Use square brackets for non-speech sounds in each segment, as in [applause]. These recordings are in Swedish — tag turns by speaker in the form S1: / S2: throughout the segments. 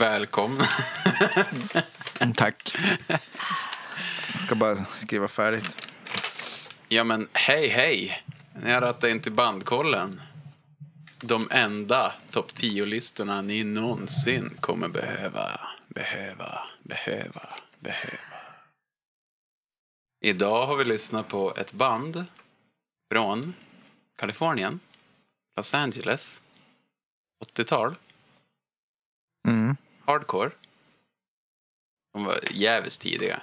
S1: Välkommen.
S2: Mm, Tack. Jag ska bara skriva färdigt.
S1: [laughs] Ja men hej hej. Ni har rattat in till Bandkollen. De enda topp 10-listorna ni någonsin kommer behöva, behöva, behöva, behöva. Idag har vi lyssnat på ett band från Kalifornien, Los Angeles, 80-tal,
S2: Mm.
S1: hardcore. De var jävligt tidiga,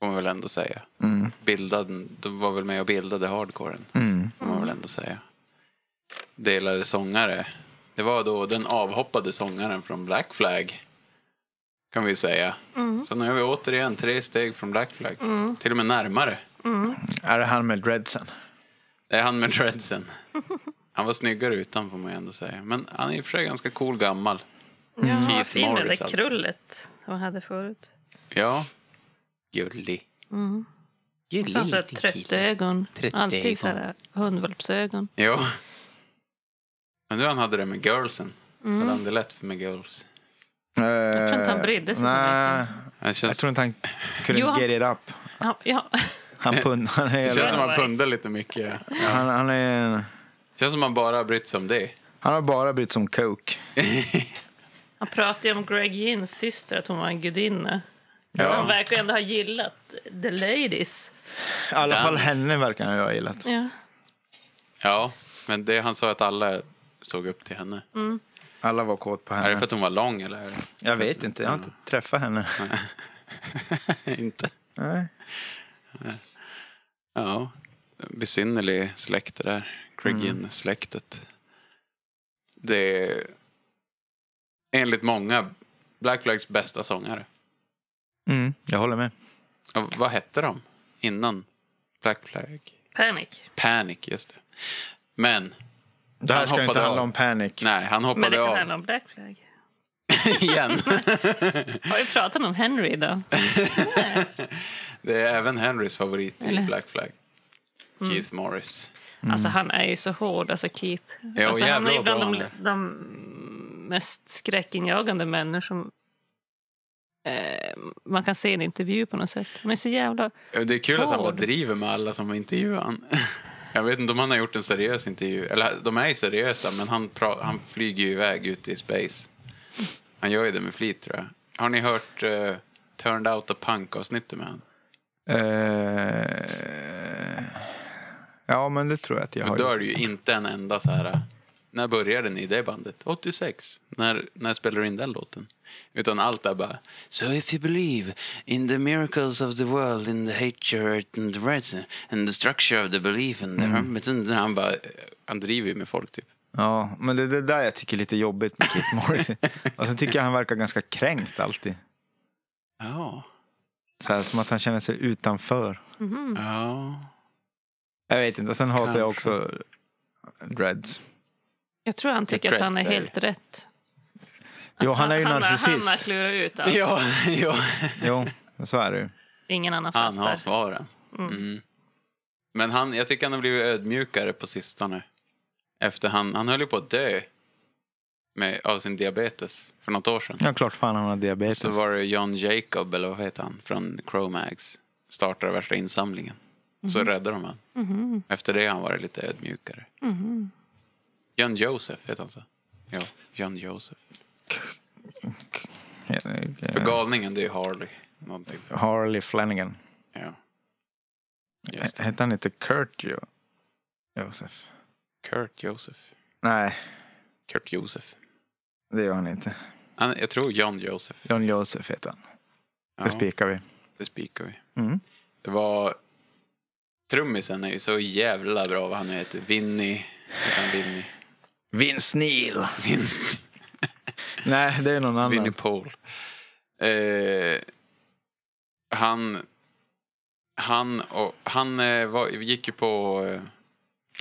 S1: får man väl ändå säga.
S2: Mm.
S1: bildad, de var väl med och bildade hardcoren,
S2: Mm.
S1: får man väl ändå säga. Delade sångare. Det var då den avhoppade sångaren från Black Flag, kan vi ju säga. Så nu är vi återigen tre steg från Black Flag, till och med närmare.
S2: Är det han med dreadsen?
S1: Det är han med dreadsen. Han var snyggare utan, får man ju ändå säga. Men han är i och för sig ganska cool gammal.
S3: Jag har
S1: Keith
S3: filmen
S1: Morris,
S3: där
S1: alltså.
S3: krullet de hade förut.
S1: Ja, gullig. Gullig
S3: Som så här
S1: liten kille.
S3: tröttögon.
S1: Tröttögon.
S3: Alltid så här hundvalpsögon.
S1: Ja. Men nu han hade det med girlsen. Hade han det lätt med girls?
S2: Jag
S3: tror inte han brydde sig så
S2: Nej,
S1: Det
S2: Eh, jag
S1: känns,
S2: tror inte han kunde
S3: Jo, han-
S2: get it up.
S3: Ja, ja. [laughs]
S2: Han, pund, han, är,
S1: det känns som han
S3: Otherwise.
S1: pundar lite mycket. Ja.
S2: han, han, är,
S1: Det känns som han bara har brytt sig om det. [laughs]
S2: han har bara brytt sig om coke.
S3: Han pratade ju om Greg Gins syster, att hon var en gudinna.
S1: Ja.
S3: Så han verkar ändå ha gillat the ladies.
S2: I alla
S1: Damn.
S2: fall henne verkar han ju ha gillat.
S3: Ja.
S1: Ja, men det han sa att alla såg upp till henne.
S2: Alla var kåt på
S1: Är det för
S2: henne.
S1: att hon var lång eller? [laughs] är det-
S2: Jag vet inte, jag har inte träffat henne.
S1: Inte.
S2: Nej.
S1: Ja, besynnerlig släkt det där. Criggin-släktet. Det är enligt många Black Flags bästa sångare.
S2: Mm, jag håller med.
S1: Och vad hette de innan Black Flag?
S3: Panic.
S1: Panic, just det. Men,
S2: Det här
S1: Han
S2: ska inte
S1: hoppade
S2: handla
S1: av.
S2: om panic.
S1: nej, han
S3: Men det
S1: hoppade
S3: kan
S1: av
S3: handla om Black Flag.
S1: [laughs] igen.
S3: [laughs] Har vi pratat om Henry idag?
S1: Mm. Det är även Henrys favorit
S3: Eller? Mm.
S1: i Black Flag. Keith Morris.
S3: Alltså han är ju så hård, alltså Keith.
S1: Ja, och
S3: alltså, han
S1: jävlar
S3: är ju
S1: vad
S3: bland
S1: bra
S3: de,
S1: han
S3: de mest skräckinjagande människor som eh, man kan se i en intervju på något sätt. De är så jävla...
S1: Det är kul att han bara
S3: Hård.
S1: driver med alla som intervjuar han. [laughs] Jag vet inte om han har gjort en seriös intervju. Eller de är ju seriösa, men han, pra- han flyger ju iväg ut i space. Han gör ju det med flit, tror jag. Har ni hört eh, Turned Out a Punk-avsnittet med han?
S2: Eh, ja, men det tror jag att jag
S1: För
S2: har.
S1: då
S2: gjort.
S1: är det ju inte en enda så här... När började ni det bandet? 86. När, när spelade du in den låten? Utan allt är bara... So if you believe in the miracles of the world, in the hatred and the rights and the structure of the belief and the mm. Han bara... Han driver ju med folk, typ.
S2: Ja, men det är det där jag tycker är lite jobbigt med
S1: [laughs]
S2: Keith Morris. Och sen tycker jag han verkar ganska kränkt alltid.
S1: Ja.
S2: Så här, som att han känner sig utanför.
S1: Mm. Ja.
S2: Jag vet inte. Och sen hatar jag också dreads.
S3: Jag tror han tycker att han är
S1: Dreads är
S3: helt rätt.
S2: Jo, han är ju
S3: han, Han har
S2: narcissist.
S3: klurat ut allt.
S1: Ja, [laughs] ja.
S2: Jo, så är det ju.
S3: Ingen annan
S1: Han har
S3: fattar.
S1: svaren. Mm. Men han, jag tycker han har blivit ödmjukare på sistone. Efter han, han höll ju på att dö med, av sin diabetes för något år sedan.
S2: Ja, klart fan han har diabetes.
S1: Så var det John Jacob, eller vad heter han, från Chromags. Startade värsta insamlingen. Så räddade de han. Efter det har han varit lite ödmjukare. John Joseph heter han så? Ja, John Joseph. För
S2: Eh,
S1: galningen, det är ju Harley. Någonting.
S2: Harley Flanagan.
S1: Ja. Just det.
S2: Hette han inte Kurt jo? Josef?
S1: Kurt Joseph.
S2: Nej,
S1: Kurt Joseph.
S2: det gör han inte.
S1: Han, jag tror John Joseph.
S2: John Josef heter han.
S1: Ja,
S2: Det spikar vi.
S1: det spikar vi.
S2: Mm.
S1: Det var... Trummisen är ju så jävla bra vad han nu heter. Vinny. Heter han Vinny?
S2: Vince Neil.
S1: Vince.
S2: Nej, det är någon annan.
S1: Vinnie Paul. Eh, han han, och, han eh, var, gick ju på... Eh,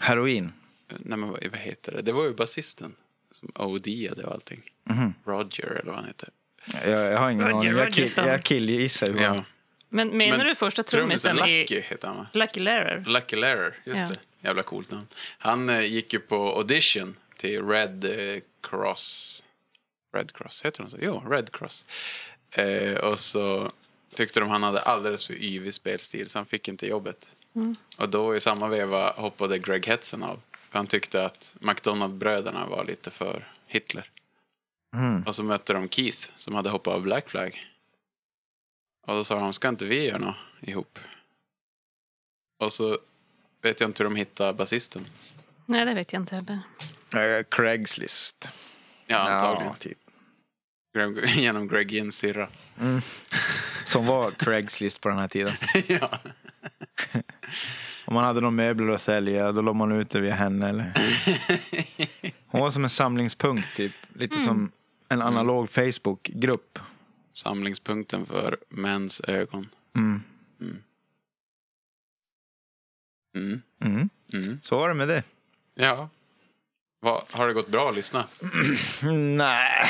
S2: Heroin.
S1: nej men, vad vad heter det? Det var ju basisten som OD'ade och allting.
S2: Mhm.
S1: Roger eller vad han heter.
S2: Jag, jag har ingen
S3: Roger
S2: aning. Jag, kill,
S3: Rogerson.
S2: jag killgissar ju. bara.
S3: Men menar
S1: Men
S3: du första
S1: Trummisen
S3: trummisen
S1: Lucky
S3: i
S1: heter han va?
S3: Lucky Larer?
S1: Lucky Lehrer, just
S3: Ja.
S1: det. Jävla coolt namn. Han eh, gick ju på audition till Red eh, Cross. Red Cross, heter de så? Jo, Red Cross. Eh, och så tyckte de han hade alldeles för yvig spelstil så han fick inte jobbet. Och då i samma veva hoppade Greg Hetsen av. För han tyckte att McDonald-bröderna var lite för Hitler.
S2: Mm.
S1: Och så mötte de Keith som hade hoppat av Black Flag. Och då sa de, ska inte vi göra något ihop? Och så vet jag inte hur de hittade basisten.
S3: Nej, det vet jag inte heller.
S2: Eh, Craigslist.
S1: Ja, antagligen.
S2: Ja, typ.
S1: Greg- [laughs] Genom Greg Gins syrra.
S2: Som var Craigslist på den här tiden.
S1: [laughs] ja.
S2: Om man hade några möbler att sälja, då låg man ut det via
S1: [laughs]
S2: henne. Eller? Hon var som en samlingspunkt, typ. lite
S3: Mm.
S2: som en
S1: Mm.
S2: analog Facebookgrupp.
S1: Samlingspunkten för mäns ögon.
S2: Mm.
S1: Mm.
S2: Mm.
S1: Mm.
S2: Så var det med det.
S1: Ja. Va, har det gått bra att lyssna?
S2: Nej.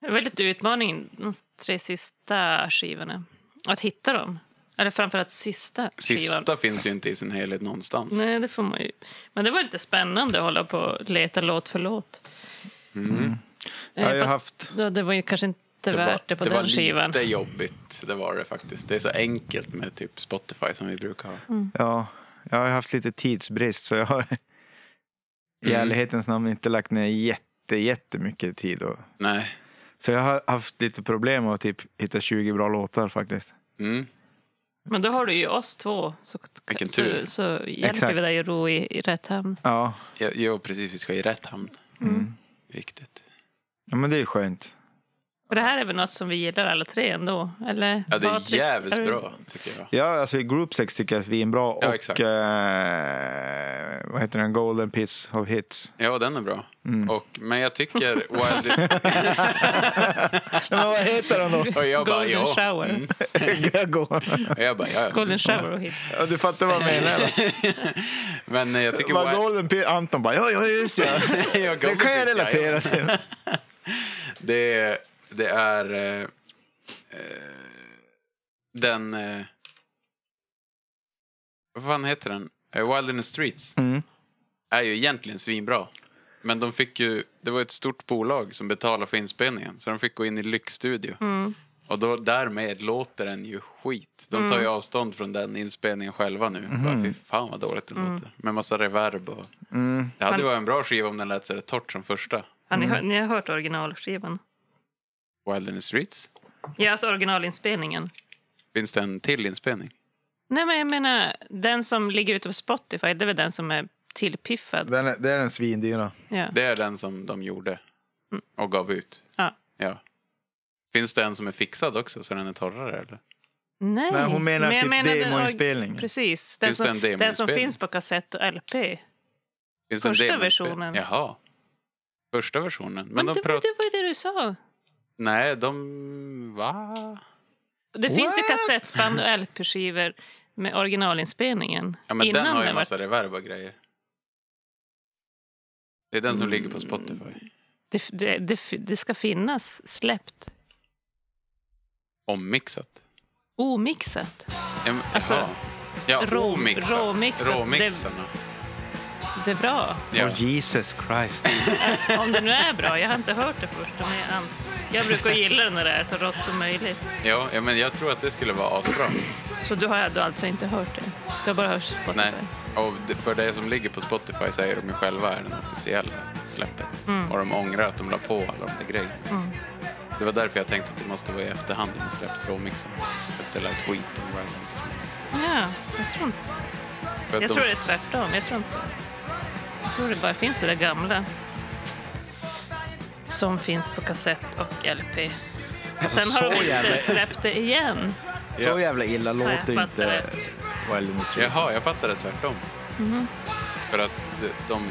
S3: Det var lite utmaning de tre sista skivorna. Att hitta dem. Eller framförallt sista, skivan.
S1: Sista finns ju inte i sin helhet någonstans.
S3: Nej, det får man ju. Men det var lite spännande att hålla på och leta låt för låt.
S1: Mm.
S2: Mm. Jag har
S3: Eh,
S2: ju
S3: fast
S2: haft...
S3: då- det var ju kanske inte värt det på den
S1: var
S3: skivan.
S1: lite jobbigt, det var det faktiskt. Det är så enkelt med typ Spotify som vi brukar ha.
S3: Mm.
S2: Ja, jag har ju haft lite tidsbrist så jag har
S1: Mm.
S2: i ärlighetens namn inte lagt ner jätte, jättemycket tid. Och...
S1: Nej.
S2: Så jag har haft lite problem med att typ hitta 20 bra låtar faktiskt.
S1: Mm.
S3: Men då har du ju oss två. Så,
S1: Vilken
S3: så,
S1: tur.
S3: så, hjälper
S2: Exakt.
S3: vi dig att ro i, i rätt hamn.
S2: Ja,
S1: Ja, ja, precis. Vi ska i rätt hamn.
S2: Mm.
S1: Viktigt.
S2: ja men det är ju skönt.
S3: Och det här är väl något som vi gillar alla tre ändå? Eller?
S1: Ja, det är
S3: Patrik,
S1: jävligt
S3: är du-
S1: bra, tycker jag.
S2: Ja, alltså i Group Sex tycker jag att vi är en bra
S1: Ja,
S2: och
S1: exakt.
S2: eh, vad heter den? Golden Piece
S1: [laughs]
S2: of Hits.
S1: Ja, den är bra.
S2: Mm.
S1: Och, men jag
S3: [laughs]
S1: tycker... Wild...
S2: Nej, men vad heter den då?
S1: Och jag bara,
S3: Golden
S1: ja.
S3: shower.
S1: [laughs]
S2: Jag går.
S1: Och jag bara, ja, ja.
S3: Golden shower och hits.
S2: Ja, du fattar vad jag
S1: [laughs]
S2: menar? va?
S1: Men eh, jag tycker...
S2: Vad
S1: Wild...
S2: Golden Piece... Anton bara, ja, ja, just
S1: [laughs]
S2: det.
S1: Ja, [laughs]
S2: Det
S1: Golden
S2: kan jag
S1: Fist, ja, ja.
S2: relatera till.
S1: [laughs] Det, det är eh, eh, den... Eh, vad fan heter den? Eh, Wild in the Streets. Är ju egentligen svinbra. Men de fick ju, det var ett stort bolag som betalade för inspelningen. Så de fick gå in i lyxstudio. Och då, därmed låter den ju skit. De tar ju avstånd från den inspelningen själva nu. Bara, fy fan vad dåligt den låter. Med massa reverb och... Det hade varit en bra skiva om den lät så där torrt som första.
S3: Har
S2: Mm.
S3: ni, hör, ni har hört originalskivan?
S1: Wild in the Streets.
S3: Ja, alltså originalinspelningen.
S1: Finns det en till inspelning?
S3: Nej, men jag menar, den som ligger ute på Spotify, det är väl den som är tillpiffad?
S2: Den är, det är den svindyra.
S3: Ja.
S1: Det är den som de gjorde och gav ut.
S3: Ja.
S1: Ja. Finns det en som är fixad också så den är torrare? Eller?
S3: Nej.
S2: Nej, hon menar
S3: jag
S2: typ
S3: den or-
S2: demoinspelningen.
S3: Precis. Den
S1: Just
S3: som,
S1: den
S3: den, som
S1: demoinspelningen.
S3: finns på kassett och LP.
S1: Finns
S3: Första
S1: det en demoinspelning?
S3: versionen.
S1: Jaha. Första versionen. Men,
S3: Men,
S1: de
S3: det,
S1: pratar...
S3: det var ju det du sa.
S1: Nej, de... Va?
S3: Det finns ju kassettband och LP-skivor med originalinspelningen.
S1: Ja, men
S3: innan
S1: den har ju
S3: den
S1: en
S3: var-
S1: massa reverb och grejer. Det är den som ligger på Spotify.
S3: det, det, det, det ska finnas släppt.
S1: Ommixat.
S3: Omixat.
S1: Ja, men-
S3: Alltså,
S1: jaha. ja,
S3: rå-
S1: omixat.
S3: råmixat. Det-
S1: Råmixarna.
S3: Det är bra.
S1: Ja.
S2: Oh, Jesus Christ.
S3: Om det nu är bra. Jag har inte hört det först. Men jag, an- jag brukar gilla det när det är så rått som möjligt.
S1: Ja, ja, men jag tror att det skulle vara asbra.
S3: Så du har du har alltså inte hört det? Du har bara hört Spotify?
S1: Nej, och det- för det som ligger på Spotify säger de ju själva är den officiella släppet.
S3: Mm.
S1: Och de ångrar att de la på alla de där grejerna. Det var därför jag tänkte att det måste vara i efterhand de har släppt råmixen. För att det lät skit om Wild on the Streets.
S3: Ja, jag tror inte.
S1: För att
S3: Jag
S1: de,
S3: tror det är tvärtom. Jag tror inte. Jag tror det bara finns det där gamla. Som finns på kassett och LP. Och sen har de
S2: så jävla-
S3: inte släppt det igen.
S2: Så jävla illa
S3: jag
S2: låter
S3: fattar
S2: inte Wild in the Streets.
S1: Jaha, jag fattade tvärtom.
S3: Mm-hmm.
S1: För att de, de,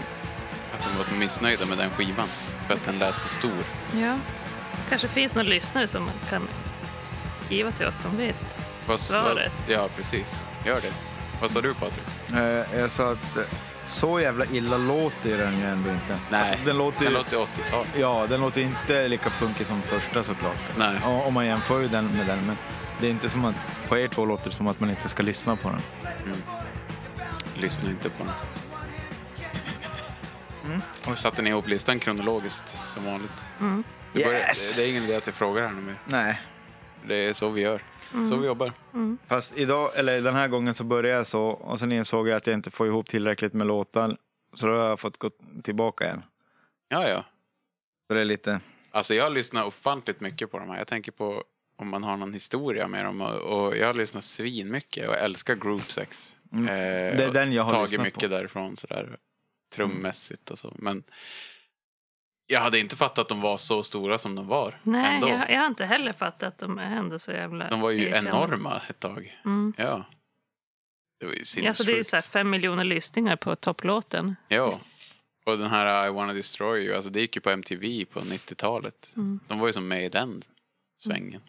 S1: att de var så missnöjda med den skivan. För att den lät så stor.
S3: Ja. kanske finns någon lyssnare som kan skriva till oss som vet.
S1: Vad sa-
S3: Svaret.
S1: Ja, precis. Gör det. Vad sa du Patrik?
S2: Eh, Jag sa att eh, så jävla illa låter den ju ändå inte.
S1: Nej,
S2: Alltså, den låter
S1: den
S2: ju...
S1: låter 80-tal.
S2: Ja, den låter inte lika punkig som första såklart.
S1: Nej.
S2: Ja, Om man jämför ju den med den. Men det är inte som att, på er två låter det som att man inte ska lyssna på den. [laughs]
S1: Lyssna inte på den.
S2: Mm.
S1: Och satte ni ihop listan kronologiskt som vanligt. Det, börjar-
S2: Yes!
S1: det, det är ingen idé att jag frågar här nu mer.
S2: Nej,
S1: Det är så vi gör. Så
S3: Mm.
S1: vi jobbar.
S2: Fast idag, eller den här gången så började jag så och sen insåg jag att jag inte får ihop tillräckligt med låtar. Så då har jag fått gå tillbaka igen.
S1: Ja, ja.
S2: Så det är lite...
S1: Alltså jag lyssnar ofantligt mycket på de här. Jag tänker på om man har någon historia med dem. Och, och jag lyssnar svinmycket och älskar Group Sex. Eh,
S2: Mm. Det är
S1: och
S2: den jag har
S1: tagit
S2: lyssnat
S1: mycket
S2: på.
S1: därifrån sådär trummässigt och så. Men jag hade inte fattat att de var så stora som de var.
S3: Nej,
S1: ändå.
S3: jag, jag har inte heller fattat att de är ändå så jävla
S1: De var ju
S3: erkända.
S1: enorma ett tag.
S3: Mm.
S1: Ja. Det var ju
S3: Ja, så det är ju
S1: sinnessjukt.
S3: så här fem miljoner lyssningar på topplåten.
S1: Ja. Och den här I wanna destroy you, alltså det gick ju på MTV på 90-talet.
S3: Mm.
S1: De var ju som med i den svängen.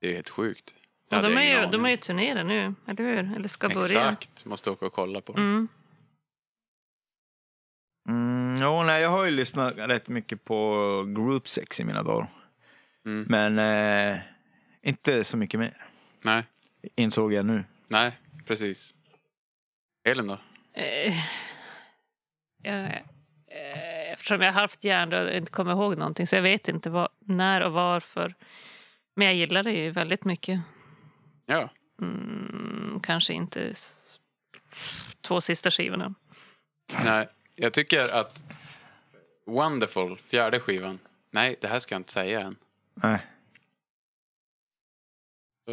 S1: Det är ju helt sjukt. Det
S3: Och
S1: hade
S3: Mm. de,
S1: jag
S3: är
S1: ingen
S3: ju,
S1: aning
S3: de
S1: om.
S3: är ju turnerade nu, eller hur? Eller ska börja.
S1: Exakt, måste åka och kolla på dem.
S3: Mm.
S2: Mm, jo, nej, jag har ju lyssnat rätt mycket på Group Sex i mina dagar.
S1: Mm.
S2: Men eh, inte så mycket mer,
S1: Nej,
S2: insåg jag nu.
S1: nej, precis. Elin då?
S3: Eh, jag- eh, Eftersom jag har haft hjärndöd och inte kommer ihåg någonting så jag vet inte vad, när och varför. Men jag gillar det ju väldigt mycket.
S1: Ja,
S3: Mm, kanske inte s- två sista skivorna.
S1: nej. Jag tycker att Wonderful, fjärde skivan. Nej, det här ska jag inte säga än.
S2: Nej.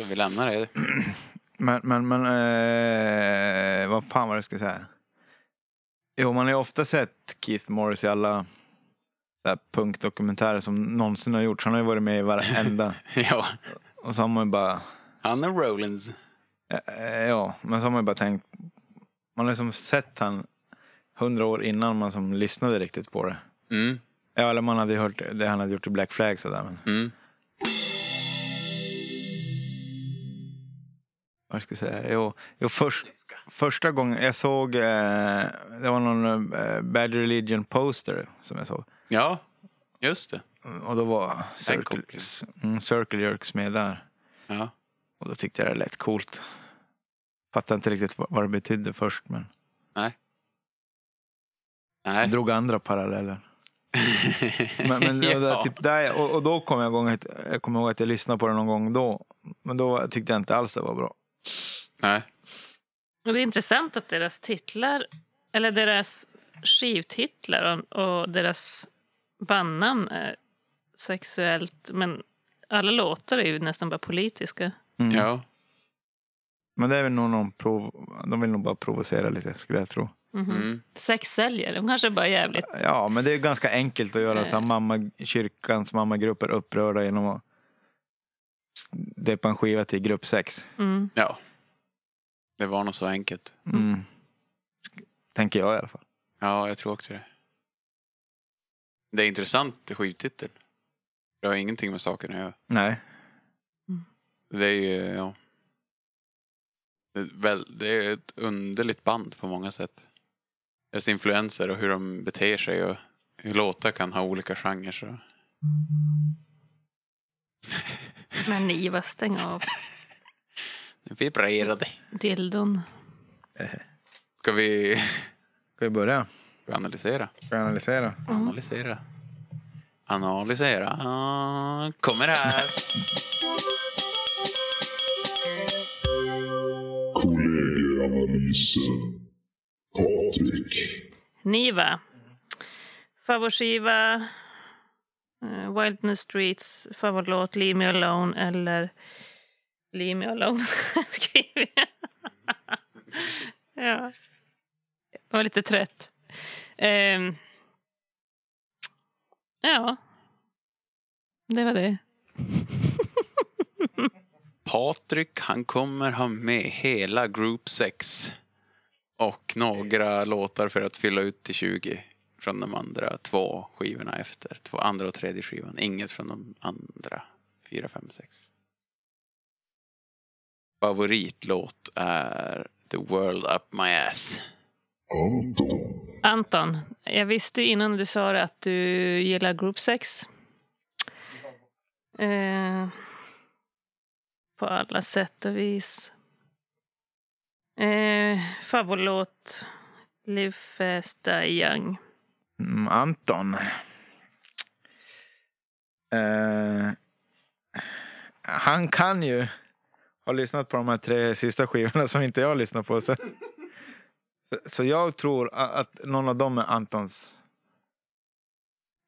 S1: Vi lämnar det. [laughs]
S2: Men, men, men eh, vad fan var det jag skulle säga? Jo, man har ju ofta sett Keith Morris i alla så här punkdokumentärer som någonsin har gjorts. Han har ju varit med i varenda.
S1: ja,
S2: Och så har man ju bara...
S1: Hanna Rollins.
S2: Eh, Ja, men så har man ju bara tänkt... Man har liksom sett han hundra år innan man som lyssnade riktigt på det.
S1: Mm,
S2: Ja, eller man hade ju hört det han hade gjort i Black Flag sådär. Men
S1: mm.
S2: vad ska jag säga? Jo, jo först, första gången jag såg... Eh, det var någon eh, Bad Religion poster som jag såg.
S1: Ja, just det.
S2: Och då var Circle,
S1: koppling.
S2: mm, Circle Jerks med där.
S1: Ja.
S2: Och då tyckte jag det lät coolt. Fattade inte riktigt vad, vad det betydde först, men
S1: Nej. [laughs]
S2: jag drog andra paralleller. Men, men det var
S1: Ja.
S2: typ där, och, och då kom jag, igång, att- jag kommer ihåg att jag lyssnade på det någon gång då. Men då tyckte jag inte alls det var bra.
S1: Nej.
S3: Och det är intressant att deras titlar, eller deras skivtitlar och, och deras bandnamn är sexuellt, men alla låtar är ju nästan bara politiska.
S2: Mm.
S1: Ja.
S2: Men det är väl nog någon prov, de vill nog bara provocera lite, skulle jag tro.
S3: Mhm.
S1: Mm.
S3: Sex säljer, de kanske bara är jävligt...
S2: Ja, men det är ganska enkelt att göra
S3: Eh.
S2: så här mamma, kyrkans mammagrupper upprörda genom att deppa en skiva till grupp sex.
S3: Mm.
S1: ja. Det var nog så enkelt.
S2: Mm. Tänker jag i alla fall.
S1: Ja, jag tror också det. Det är intressant skivtitel. Det har ingenting med saken att göra.
S2: Nej.
S1: Det är ju, ja. Det är, väl, det är ett underligt band på många sätt. Deras influenser och hur de beter sig och hur låtar kan ha olika genrer. Så.
S3: Men Niva, stäng av
S1: Det Vibrerade.
S3: dildon.
S1: Ska vi [laughs]
S2: Ska vi börja?
S1: analysera?
S2: Ska vi analysera?
S1: Analysera. Analysera. Ah, Kommer här.
S4: Kollegieanalysen. Patrik.
S3: Niva. Favoritskiva. Uh, Wildness Streets. Favoritlåt Leave Me Alone eller Leave Me Alone [laughs] skriver jag. ja. Jag var lite trött. Ehm. ja. Det var det.
S1: Patrik, han kommer ha med hela Group 6. Och några låtar för att fylla ut till 20 från de andra två skivorna efter. Två andra och tredje skivan. Inget från de andra. fyra, fem, sex. Favoritlåt är The World Up My Ass.
S4: Anton.
S3: Anton, jag visste ju innan du sa det att du gillar group sex. Eh, på alla sätt och vis. Eh, Favoritlåt, Live Fast Die Young.
S2: Mm, Anton. Eh, han kan ju ha lyssnat på de här tre sista skivorna som inte jag lyssnar på. Så, så, så jag tror a- att någon av dem är Antons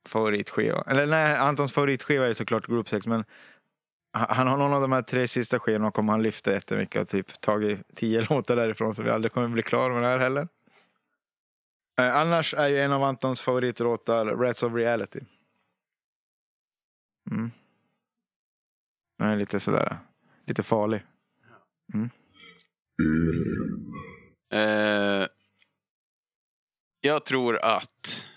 S2: favoritskiva. Eller nej, Antons favoritskiva är såklart Group Sex, men ha- han har någon av de här tre sista skivorna och kommer han lyfta jättemycket och typ tagit tio [laughs] låtar därifrån så vi aldrig kommer bli klara med det här heller. Eh, annars är ju en av Antons favoritlåtar Rats of Reality. Mm. Den är lite sådär, lite farlig.
S4: Elin.
S1: Eh, jag tror att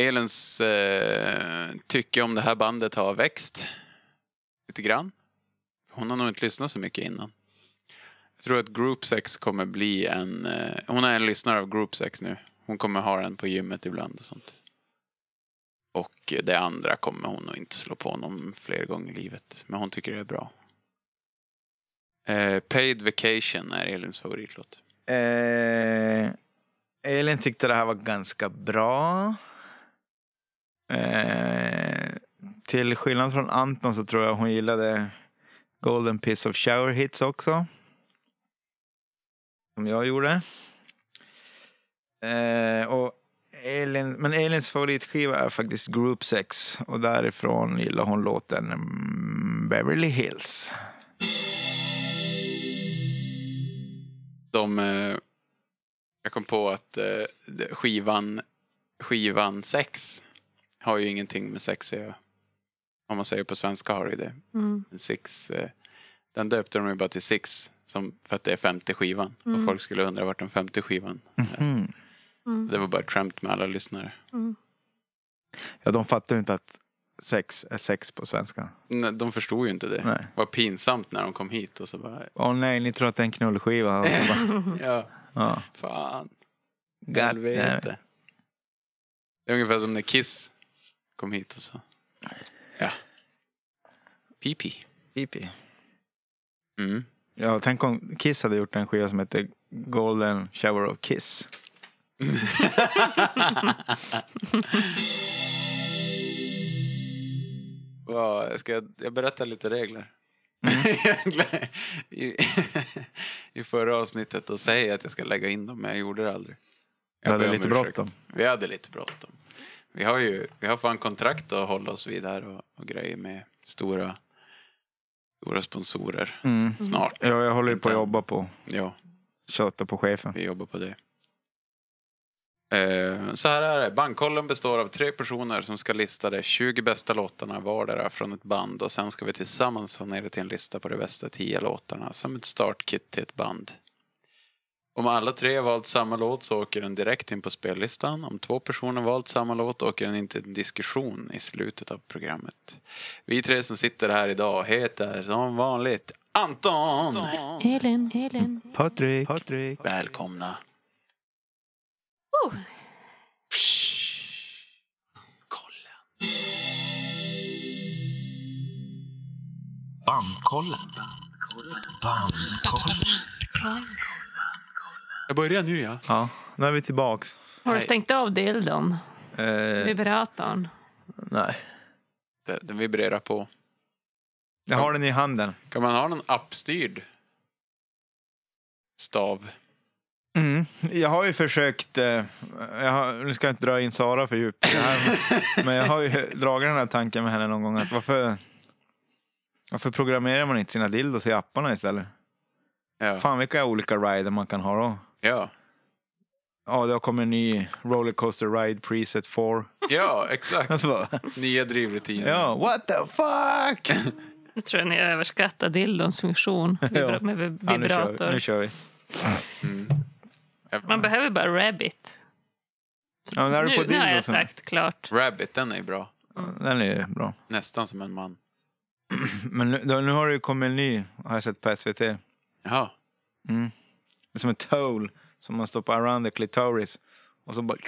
S1: Elens eh, tycke om det här bandet har växt lite grann. Hon har nog inte lyssnat så mycket innan. Jag tror att Group Sex kommer bli en... Eh, hon är en lyssnare av Group Sex nu. Hon kommer ha den på gymmet ibland och sånt. Och eh, det andra kommer hon nog inte slå på någon fler gånger i livet. Men hon tycker det är bra. Eh, Paid Vacation är Elins favoritlåt.
S2: Eh, Elin tyckte det här var ganska bra. Eh, till skillnad från Anton så tror jag hon gillade Golden Piece of Shower Hits också. Som jag gjorde. Eh, och Elin, men Elins favoritskiva är faktiskt Group Sex. Och därifrån gillar hon låten mm, Beverly Hills.
S1: De, eh, jag kom på att eh, det- skivan, skivan sex har ju ingenting med sex att göra. Om man säger på svenska har det ju det.
S3: Mm.
S1: Six, eh, den döpte de ju bara till Six som, för att det är femte skivan. Och folk skulle undra vart den femte skivan.
S2: Mhm.
S1: Det var bara ett skämt med alla lyssnare.
S3: mm.
S2: Ja, de fattar ju inte att sex är sex på svenska.
S1: Nej, de förstod ju inte det.
S2: Nej.
S1: Vad pinsamt när de kom hit och så bara,
S2: Åh nej, ni tror att det är en knullskiva. Och så bara,
S1: ja,
S2: ja. Eh,
S1: fan.
S2: God damn
S1: Helvete.
S2: it.
S1: Det är ungefär som när Kiss kom hit och så. Ja. Pipi.
S2: Pipi.
S1: Mm.
S2: Ja, tänk om Kiss hade gjort en skiva som heter Golden Shower of Kiss.
S1: Vad- ska jag, jag berätta lite regler?
S2: Mm.
S1: [laughs] I, [laughs] I förra avsnittet och säger jag att jag ska lägga in dem, men jag gjorde det aldrig. Jag
S2: Vi hade
S1: ber om
S2: lite
S1: ursäkt.
S2: bråttom.
S1: Vi hade lite bråttom. Vi har ju vi har fan kontrakt att hålla oss vid här och, och grejer med stora, stora sponsorer
S2: Mm.
S1: snart.
S2: Ja, jag håller ju på att jobba på.
S1: Ja.
S2: Tjata på chefen.
S1: Vi jobbar på det. Eh, Så här är det. Bankkollen består av tre personer som ska lista de 20 bästa låtarna vardera från ett band och sen ska vi tillsammans få ner det till en lista på de bästa 10 låtarna som ett startkit till ett band. Om alla tre valt samma låt så åker den direkt in på spellistan. Om två personer valt samma låt åker den in till en diskussion i slutet av programmet. Vi tre som sitter här idag heter som vanligt Anton!
S3: Elin, Elin.
S2: Patrik. Patrik.
S1: Välkomna!
S3: Oh,
S1: Kolla.
S5: Bandkollen. Bandkollen.
S1: Jag börjar nu ja.
S2: Ja, nu är vi tillbaks.
S3: har du
S1: Hej.
S3: stängt av dildon?
S2: Eh,
S3: Vibratorn?
S2: nej.
S1: Den- Den vibrerar på.
S2: Jag har den i handen.
S1: Kan man ha någon appstyrd stav?
S2: Mm. Jag har ju försökt, eh, jag har, nu ska jag inte dra in Sara för djupt i det här, men- men jag har ju dragit den här tanken med henne någon gång att varför, varför programmerar man inte sina dildos i apparna istället?
S1: Ja.
S2: Fan vilka olika rider man kan ha då.
S1: ja.
S2: Ja, det har kommit en ny Rollercoaster Ride Preset 4.
S1: Ja, exakt.
S2: [laughs] Och så bara,
S1: Nya drivrutiner.
S2: ja, what the fuck!
S3: Jag tror ni överskattar dildons funktion
S2: [laughs] Ja.
S3: vibra- med vib-
S2: Ja, nu, kör vi,
S3: vibrator.
S2: nu kör vi.
S3: Man behöver bara rabbit.
S2: Ja, men när du
S3: Nu,
S2: på
S3: nu har jag
S2: dildosen-
S3: sagt klart.
S1: Rabbit, den är ju bra.
S2: Den är ju bra.
S1: Nästan som en man.
S2: Men nu, då, nu har det ju kommit en ny, har jag sett på SVT.
S1: Jaha.
S2: Det är som en towel som man stoppar around the clitoris och så bara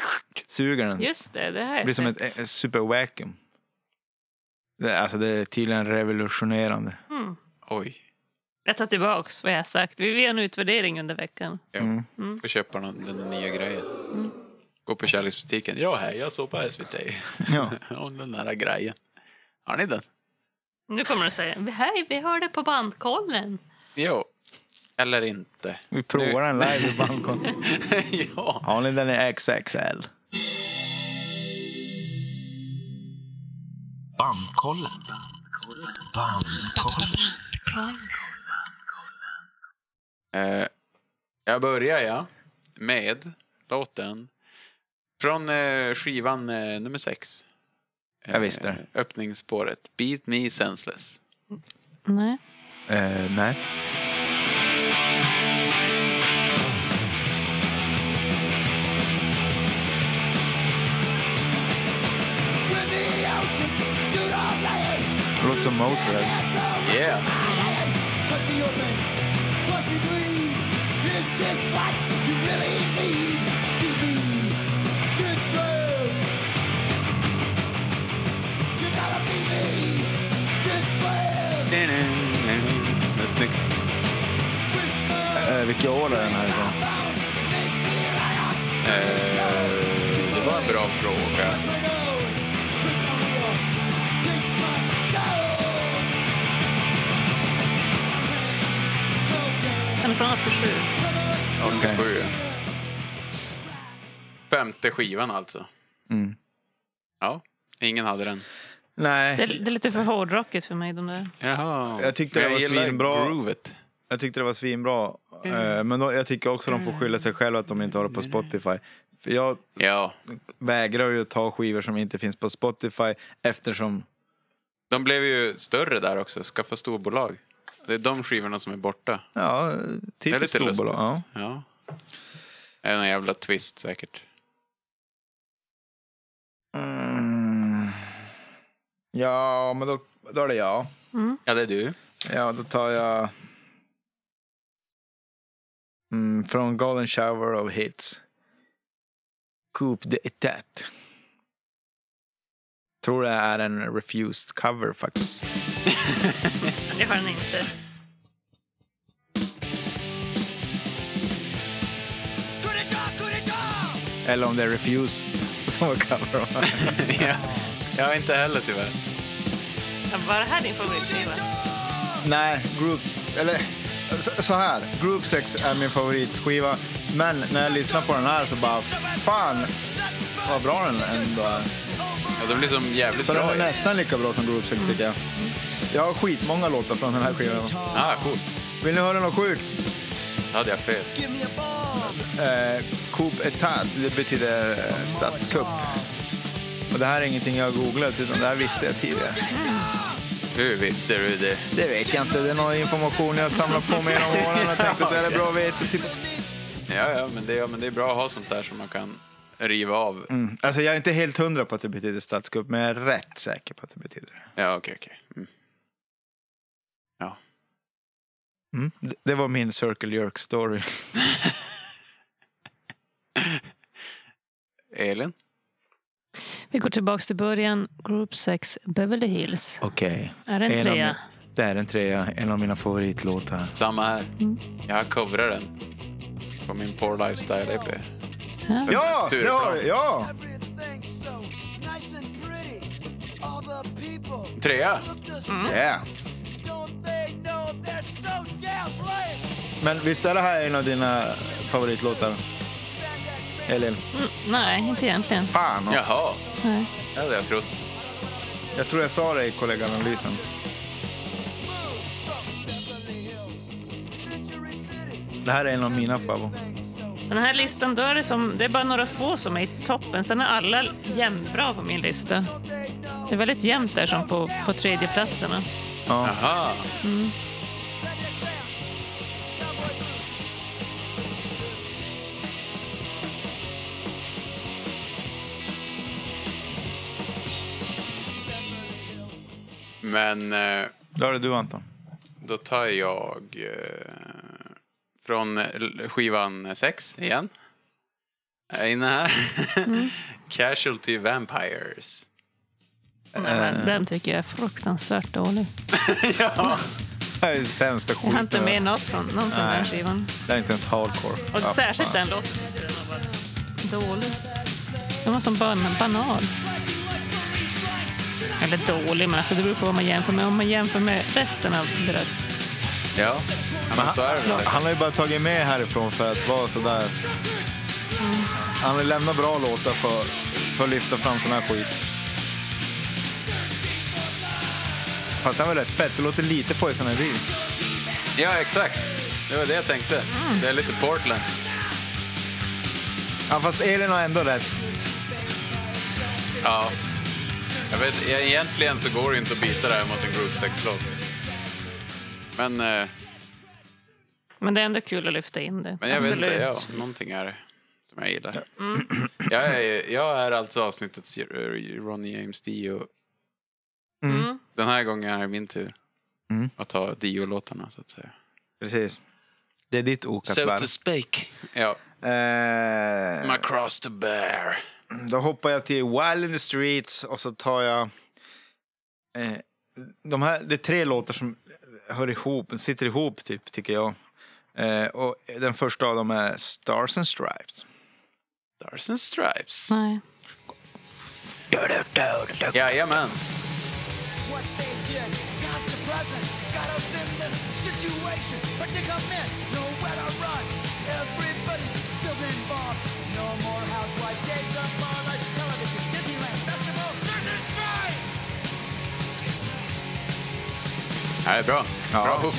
S2: suger den. Det
S3: Just det, det här är
S2: blir som ett,
S3: sett.
S2: ett super vacuum. Det, är- alltså, det är tydligen revolutionerande.
S1: Oj.
S3: Jag tar tillbaka vad jag har
S2: Mm.
S3: sagt. Vi gör en utvärdering under veckan.
S1: Ja. Får köpa någon, den nya grejen. Gå på kärleksbutiken. Ja, hej, jag såg på SVT. [laughs]
S2: Ja.
S1: Om den där grejen. Har ni den?
S3: Nu kommer du säga hej, vi hörde på bandkollen.
S1: Jo. Eller inte. [laughs]
S2: Vi provar den live i Bangkok.
S1: ja.
S2: Har ni den i XXL?
S5: Bandkollen. Bandkollen.
S1: Eh, jag börjar ja, med låten från eh, skivan eh, nummer sex. Eh,
S2: Jag visste det.
S1: Öppningsspåret. Beat me senseless.
S3: Nej.
S2: Eh, nej. Det låter som Motörhead.
S1: Yeah. Det är snyggt.
S2: Eh, vilka år är den här ifrån?
S1: Eh, det var en bra fråga.
S3: Den är från 87.
S1: 87. Femte skivan alltså.
S2: Mm.
S1: Ja, ingen hade den.
S3: Det, är-
S2: Nej,
S3: det är lite för hårdrockigt för mig. De där.
S1: Jaha.
S2: Jag tyckte
S1: Men
S2: det var
S1: gillar
S2: svinbra.
S1: groovet.
S2: jag tyckte det var svinbra.
S3: Mm.
S2: Eh, men då, jag tycker också de får skylla sig själva att de inte har det på Spotify. För jag
S1: Ja.
S2: vägrar ju att ta skivor som inte finns på Spotify eftersom...
S1: De blev ju större där också, skaffa storbolag. Det är de skivorna som är borta.
S2: Ja,
S1: Det är
S2: typiskt
S1: lite
S2: storbolag.
S1: lustigt.
S2: Ja.
S1: Ja. Det är en jävla twist säkert.
S2: Mm. Ja, men då, då är det jag.
S1: Ja, det är du.
S2: Ja, då tar jag... Mm, från Golden Shower of Hits. Coup d'etat. Tror det är en refused cover faktiskt.
S3: Det har den inte.
S2: Eller om det är refused [laughs] som var cover.
S1: [laughs]
S2: [laughs]
S1: ja. Jag inte heller tyvärr.
S3: Ja, Var det här din favoritskiva?
S2: Nej, Groups... Eller så- så här. Group Sex är min favoritskiva. Men när jag lyssnar på den här så bara fan vad bra den ändå är.
S1: Ja, de blir som jävligt
S2: Så den
S1: bra.
S2: är
S1: ju.
S2: nästan lika bra som Group Sex tycker jag. Jag har skitmånga låtar från den här skivan.
S1: Ah, coolt.
S2: Vill ni höra något sjukt?
S1: Då hade jag fel.
S2: Eh, Coup Etat, det betyder eh, statskupp. Och det här är ingenting jag har googlat, utan det här visste jag tidigare.
S1: Hur visste du det?
S2: Det vet jag inte, det är någon information jag samlat på mig genom åren och tänkte att det här är bra att veta. Typ.
S1: Ja, ja, men det, ja, men det är bra att ha sånt där som man kan riva av.
S2: Mm. Alltså jag är inte helt hundra på att det betyder statskupp, men jag är rätt säker på att det betyder det.
S1: Ja, okej, okej. Mm. Ja.
S2: Mm. Det- Det var min Circle Jerk-story.
S1: Elin?
S3: Vi går tillbaka till början. Group 6, Beverly Hills.
S2: Okej.
S3: Är det en trea?
S2: Det är en trea, en av mina favoritlåtar.
S1: Samma här. Jag coverar den. På min Poor Lifestyle EP.
S3: Ja.
S1: För
S2: Ja, det
S1: Stureplan.
S2: har ja!
S1: Trea.
S2: Yeah. Mm. Men visst är det här en av dina favoritlåtar? Elin?
S3: Mm, Nej, inte egentligen.
S2: Fan! Ja.
S1: Jaha.
S3: Nej.
S1: Det hade jag trott.
S2: Jag tror jag sa det i kolleganalysen. Det här är en av mina favoriter.
S3: Den här listan, då är det, som, det är bara några få som är i toppen. Sen är alla jämnbra på min lista. Det är väldigt jämnt där som på, på tredjeplatserna.
S2: Ja.
S1: Aha. Men eh,
S2: Då är det du Anton.
S1: då tar jag eh, från l- skivan 6 igen. Jag är inne här. [laughs] Casualty Vampires.
S3: Nej, men den tycker jag är fruktansvärt dålig.
S2: Det här är det sämsta
S3: Jag har
S1: Typ,
S3: inte med
S1: eh,
S2: skiten.
S3: något från, någon från den skivan.
S2: Det är inte ens hardcore.
S3: Och
S2: Ja,
S3: särskilt
S2: fan.
S3: den låten. tyckte jag Den var bara dålig. Den var som ban- banal. Eller dålig, men alltså det beror på vad man jämför med. Om man jämför med resten av deras...
S1: Ja, ja men så är det väl säkert.
S2: Han har ju bara tagit med härifrån för att vara sådär. Han har lämnat bra låtar för, för att lyfta fram sån här skit. Fast han var rätt fett. Det låter lite Poison Ivy.
S1: Ja, exakt. Det var det jag tänkte. Det är lite Portland.
S2: Ja, fast Elin har ändå rätt.
S1: Ja. Jag vet, e- egentligen så går det inte att byta det här mot en Group 6-låt. Men, eh,
S3: Men det är ändå kul att lyfta in det.
S1: men jag vet inte, ja, någonting är det som jag gillar. Jag, är, jag är alltså avsnittets eh, Ronny James Dio.
S3: Mm.
S1: Den här gången är det min tur
S2: Mm.
S1: att ta Dio-låtarna, så att säga.
S2: Precis. Det är ditt ok att bära.
S1: speak. Ja,
S2: Eh,
S1: my cross to bear.
S2: Då hoppar jag till Wild in the Streets och så tar jag... Eh, de här, det är tre låtar som hör ihop, sitter ihop, typ, tycker jag. Eh, och den första av dem är Stars and Stripes.
S1: Stars and stripes.
S3: Nej.
S1: Jajamän. Det här är bra. Bra hook.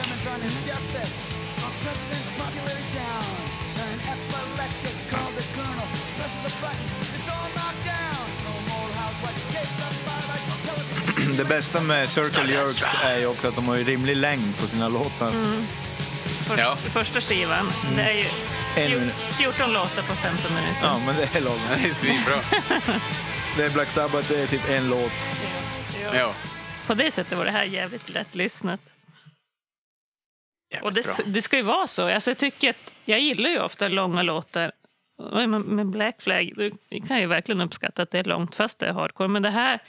S2: Det bästa med Circle
S1: Stars and
S2: Jerks är ju också att de har ju rimlig längd på sina låtar.
S1: Mm.
S3: Först,
S1: Ja.
S3: Första skivan, det är ju
S2: En
S3: fjo-
S2: minut.
S3: 14 låtar på 15 minuter.
S2: Ja, men det är långt.
S1: Det är svinbra.
S2: Det är Black Sabbath, det är typ en låt.
S1: [laughs] Ja.
S3: På det sättet var det här jävligt lättlyssnat.
S1: Jävligt
S3: Och det,
S1: bra.
S3: det ska ju vara så. Alltså, jag, tycker att, jag gillar ju ofta långa låtar. Oj, men- Med Black Flag du kan jag ju verkligen uppskatta att det är långt fast det är hardcore. Men det här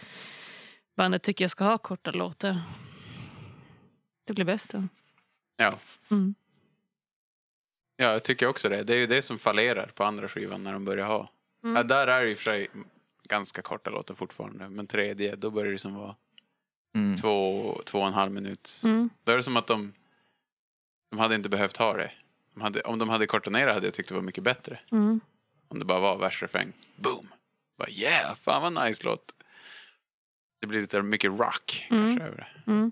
S3: bandet tycker jag ska ha korta låtar. Det blir bäst då.
S1: Ja.
S3: Mm.
S1: ja, jag tycker också det. Det är ju det som fallerar på andra skivan när de börjar ha.
S3: Mm.
S1: Ja, där är det ju för sig ganska korta låtar fortfarande. Men tredje, då börjar det som vara
S2: Mm.
S1: två, två och en halv minut.
S3: Mm.
S1: Då är det som att de, de hade inte behövt ha det. De hade, om de hade kortat ner det hade jag tyckt det var mycket bättre.
S3: Mm.
S1: Om det bara var vers, refräng, boom. Bara, yeah, fan vad nice låt. Det blir lite mycket rock
S3: Mm.
S1: kanske över det.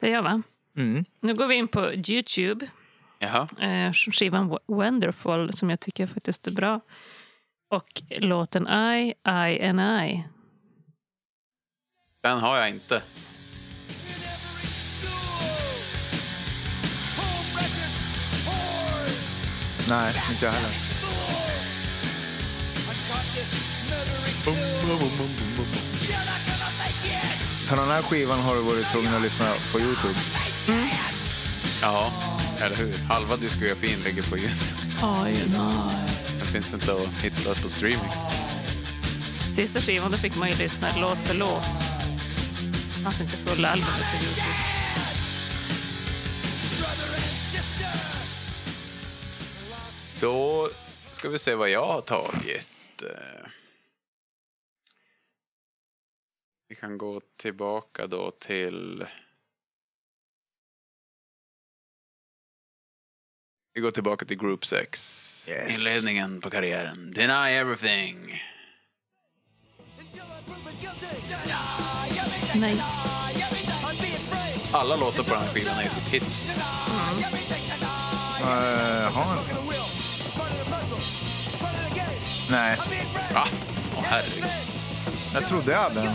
S3: Det gör man.
S2: Mm.
S3: Nu går vi in på Youtube.
S1: Jaha,
S3: eh, skivan Wo- Wonderful som jag tycker faktiskt är bra. Och låten I, I and I.
S1: den har jag inte.
S2: Nej, inte jag heller. På den här skivan har du varit tvungen att lyssna på Youtube.
S1: Ja, eller hur? Halva diskografin ligger på Youtube. Den finns inte att hitta på streaming.
S3: Sista skivan då fick man ju lyssna låt för låt. Det fanns inte fulla albumet på Youtube.
S1: Då ska vi se vad jag har tagit. Eh, Vi kan gå tillbaka då till... Vi går tillbaka till Group 6.
S2: Yes.
S1: Inledningen på karriären. Deny everything.
S3: Nej.
S1: Alla låtar på den här skivan är ju typ hits.
S2: Eh, har han? Nej,
S1: Va? Åh herregud.
S2: jag trodde jag hade den.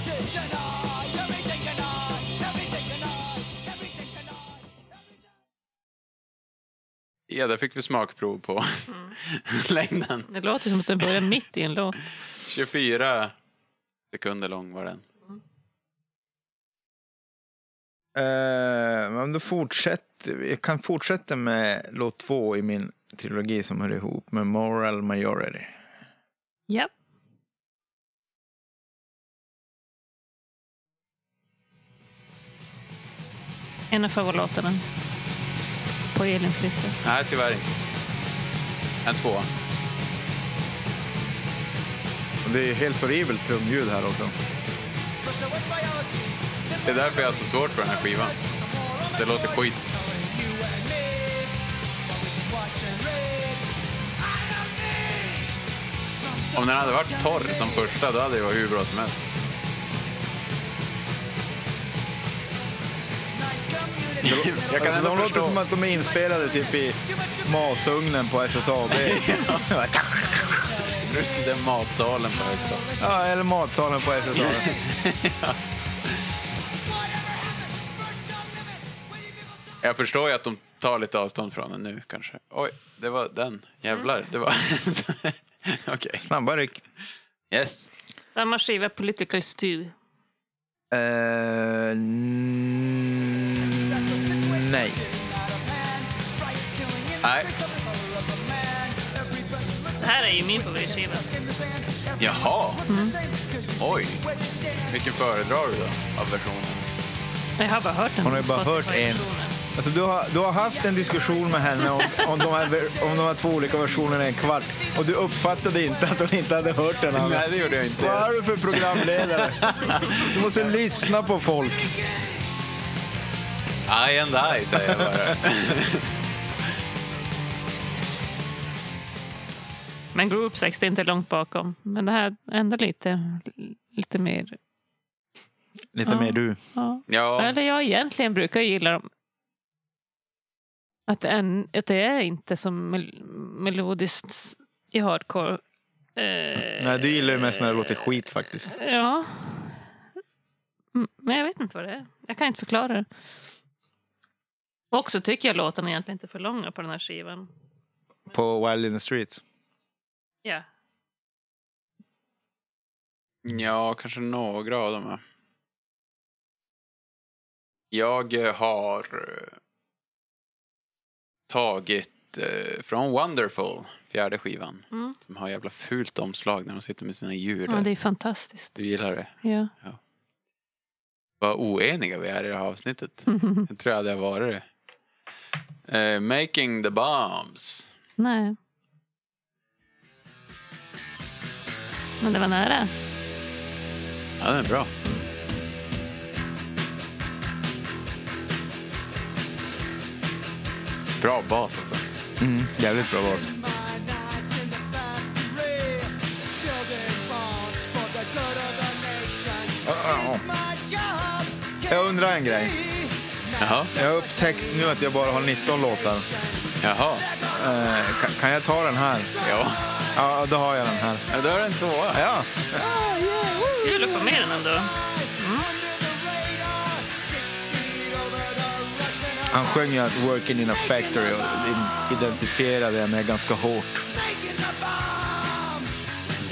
S1: Ja, där fick vi smakprov på [laughs] längden.
S3: Det låter ju som att den börjar mitt i en låt.
S1: 24 sekunder lång var den.
S2: Eh, men då fortsätter vi. Jag kan fortsätta med låt två i min trilogi som hör ihop med Moral Majority.
S3: Ja. En av favoritlåtarna på Elins lista.
S1: Nej, tyvärr inte. En två.
S2: Det är helt horribelt trumljud här också.
S1: Det är därför jag har så svårt för den här skivan. Det låter skit. Om den hade varit torr som första, då hade det varit hur bra som helst.
S2: Jag kan alltså,
S1: ändå
S2: de låter
S1: förstå.
S2: som att de är inspelade typ i masugnen på SSAB.
S1: Nu skulle det matsalen på högstadiet.
S2: ja, eller matsalen på SSAB.
S1: Jag förstår ju att de tar lite avstånd från den nu kanske. Oj, det var den. Jävlar, det var... [laughs] Okej.
S2: Snabba ryck.
S1: Yes.
S3: Samma skiva, Political Stew.
S2: Eh, n- nej.
S1: Nej.
S3: Det här är ju min favoritskiva.
S1: Jaha. Oj. Vilken föredrar du då av versionen?
S3: Jag har bara hört den.
S2: Hon har ju bara hört en.
S3: Spotify-versionen.
S2: Alltså, du, har, du har haft en diskussion med henne om, om, de här, ver- om de här två olika versionerna i en kvart och du uppfattade inte att hon inte hade hört den andra.
S1: Nej, det gjorde jag
S2: Vad
S1: inte.
S2: är du för programledare? Du måste lyssna på folk.
S1: I and I, säger jag bara.
S3: Men Group Sex, det är inte långt bakom. Men det här är ändå lite, lite mer...
S2: Lite
S3: Ja.
S2: mer du.
S3: Ja.
S1: Ja,
S3: Eller jag egentligen brukar ju gilla dem. Att det, är, att det är inte som mel- melodiskt i hardcore. Eh,
S2: Nej, du gillar ju mest när det låter skit faktiskt.
S3: Ja. Mm, Men jag vet inte vad det är. Jag kan inte förklara det. Och så tycker jag låtarna egentligen inte är för långa på den här skivan.
S2: På Wild in the Streets.
S3: Ja.
S1: ja kanske några av dem. ja. Jag eh, har eh, tagit eh, från Wonderful, fjärde skivan,
S3: Mm.
S1: som har jävla fult omslag när de sitter med sina djur.
S3: ja,
S1: där.
S3: det är fantastiskt.
S1: Du gillar det?
S3: Ja.
S1: Vad oeniga vi är i det här
S3: [laughs]
S1: avsnittet. Jag tror jag hade varit det. Eh, Making the bombs.
S3: Nej. Men det var nära.
S1: Ja, den är bra. Bra bas alltså.
S2: Mm, jävligt bra låt. Jag undrar en grej.
S1: Jaha.
S2: Jag har upptäckt nu att jag bara har 19 låtar.
S1: Jaha.
S2: Eh, kan, kan jag ta den här?
S1: Ja.
S2: Ja, då har jag den här.
S1: ja, då är det en tvåa.
S2: Ja,
S6: Oh,
S3: Kul att få med den ändå.
S2: han sjöng ju att Working in a factory och in- identifierade jag mig ganska hårt.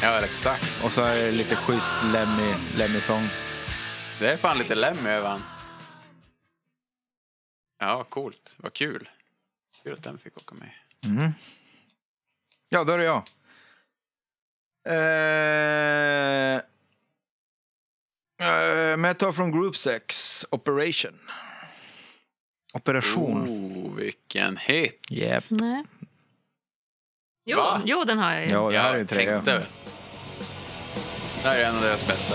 S1: Ja, exakt.
S2: Och så är det lite schysst Lemmy, Lemmy-sång.
S1: Det är fan lite lem över han. Ja, coolt. Vad kul. Kul att den fick åka med.
S2: Ja, då är det jag. Eh, eh, men jag tar från Group 6, Operation. Operation.
S1: Oh, vilken hit.
S2: Yep.
S3: Nej. Jo,
S1: Va?
S3: jo, den har jag ju.
S2: Ja, det här är ju
S1: jag
S2: trea.
S1: tänkte väl. Det här är en av deras bästa.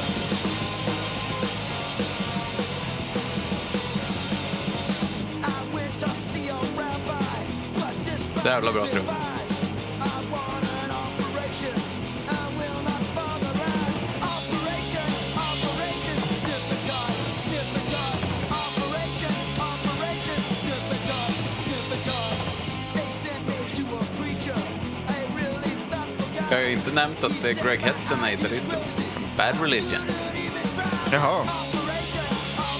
S5: Så jävla bra trum.
S1: Jag har ju inte nämnt att eh, Greg Hetson är gitarristen. Från Bad Religion.
S2: Jaha,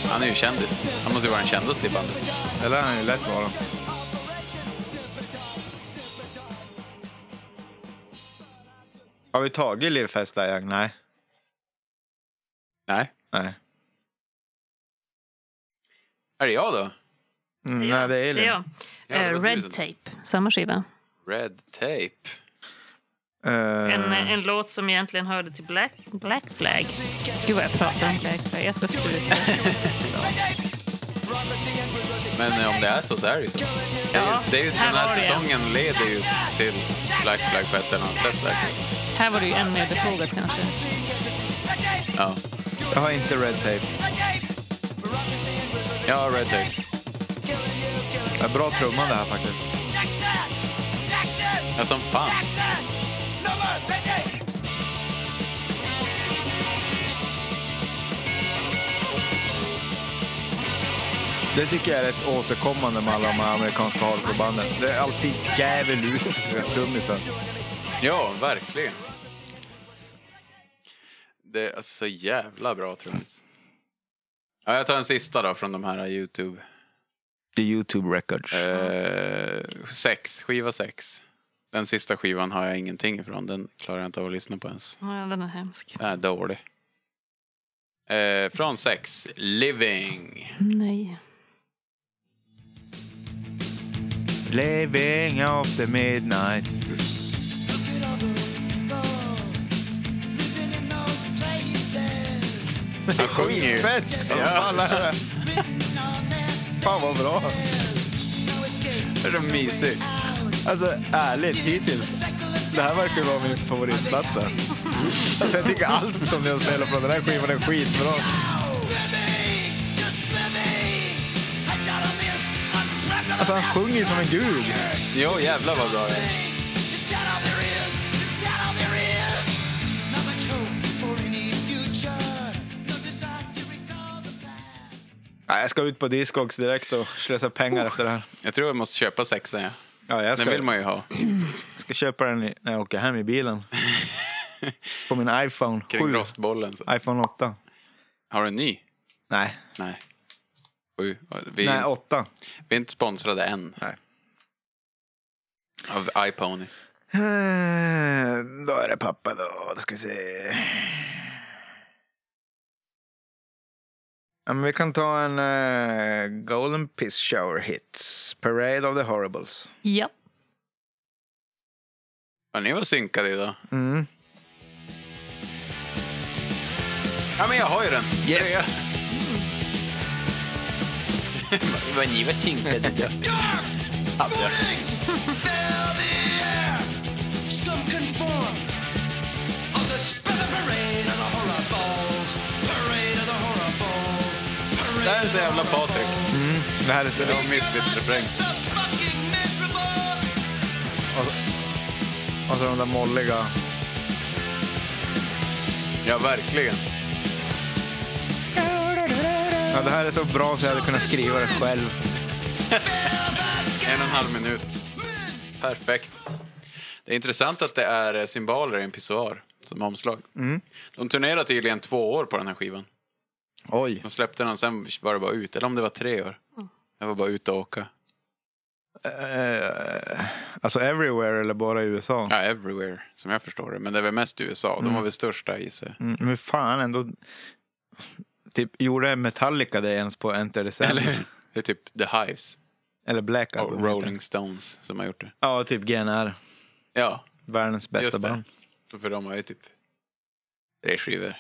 S1: Han är ju kändis. Han måste ju vara den kändaste i bandet.
S2: det lär han ju lätt vara. Har vi tagit Livfest Lajang? Nej.
S1: Nej.
S2: Nej.
S1: Är det jag då?
S2: Mm, nej, det är
S3: Det är
S2: Elin.
S3: jag.
S1: Ja, det var
S3: Eh,
S1: du som-
S3: Red Tape, samma skiva.
S1: Red Tape.
S2: Eh,
S3: En, en låt som egentligen hörde till Black, Black Flag. Gud vad jag pratar om Black Flag. Jag ska sluta.
S1: Men eh, om det är så så är det ju så. Det är ju, det är ju, den
S3: här
S1: här
S3: var det.
S1: säsongen leder ju till Black Flag på ett eller annat sätt. verkligen.
S3: Här var det ju än mer befogat kanske.
S1: Ja,
S2: Jag har inte red tape.
S1: ja Red Tape.
S2: Det är bra trummande här faktiskt.
S1: Ja, som fan.
S2: Det tycker jag är ett återkommande med alla de här amerikanska hardcorebanden. Det är alltid djävululiska trummisar.
S1: Ja, verkligen. Det är alltså så jävla bra trummis. Ja, jag tar en sista då från de här Youtube.
S2: The YouTube Records.
S1: Eh, sex, skiva sex. Den sista skivan har jag ingenting ifrån. Den klarar jag inte av att lyssna på ens.
S3: Ja, den är hemsk.
S1: Den är Äh, dålig. Eh, från sex, Living.
S3: Nej.
S2: Living of the midnight.
S1: Han sjunger ju.
S2: Fett!
S1: Ja.
S2: Fan vad bra!
S1: Det är så [laughs] mysigt.
S2: Alltså ärligt, hittills. Det här verkar ju vara min favoritplatta. Alltså, jag tycker allt som ni har spelat på den här skivan är skitbra. Alltså han sjunger ju som en gud.
S1: Jo, jävlar vad bra det är.
S2: Nej, jag ska ut på Discogs direkt och slösa pengar efter det här.
S1: Jag tror jag måste köpa sexan, ja.
S2: Ja, jag
S1: Den
S2: ska,
S1: vill man ju
S2: [clears throat]
S1: ha.
S2: ska köpa den i- när jag åker hem i bilen. På min iPhone
S1: Kring
S2: 7.
S1: rostbollen. Så.
S2: iPhone 8.
S1: Har du en ny?
S2: Nej,
S1: Nej. Sju. Vi,
S2: nej 8.
S1: vi är inte sponsrade än.
S2: Nej.
S1: Av iPony.
S2: Eh, Då är det pappa då. Då ska vi se. Ja, men vi kan ta en eh, Golden Piss Shower Hits. Parade of the Horribles.
S3: Ja.
S1: Ja, ni var synkade idag.
S2: Mm.
S1: Ja, men jag har ju den.
S2: Yes!
S1: Men ni var [laughs] synkade idag. Hade jag. Det här är så jävla Patrik.
S2: Det här är så
S1: Det var Misfits-refräng.
S2: Och så, och så de där molliga.
S1: Ja, verkligen.
S2: Ja, det här är så bra så jag hade kunnat skriva det själv.
S1: En och en halv minut. Perfekt. Det är intressant att det är eh, cymbaler i en pissoar som omslag.
S2: Mm.
S1: De turnerade tydligen två år på den här skivan.
S2: Oj.
S1: De släppte den, sen var det bara ut. Eller om det var tre år. Jag var bara ute och åka.
S2: Eh, alltså everywhere eller bara i USA?
S1: Ja, everywhere, som jag förstår det. Men det är väl mest i USA. De var väl största i sig.
S2: Mm, men fan ändå. Typ, gjorde Metallica det ens på Enter the Sand?
S1: Eller hur? Det är typ The Hives
S2: Eller Black Album.
S1: och
S2: heter
S1: Rolling
S2: det.
S1: Stones som har gjort det.
S2: Ja, typ GNR.
S1: Ja,
S2: Världens bästa
S1: just
S2: band.
S1: det. För de har ju typ tre skivor.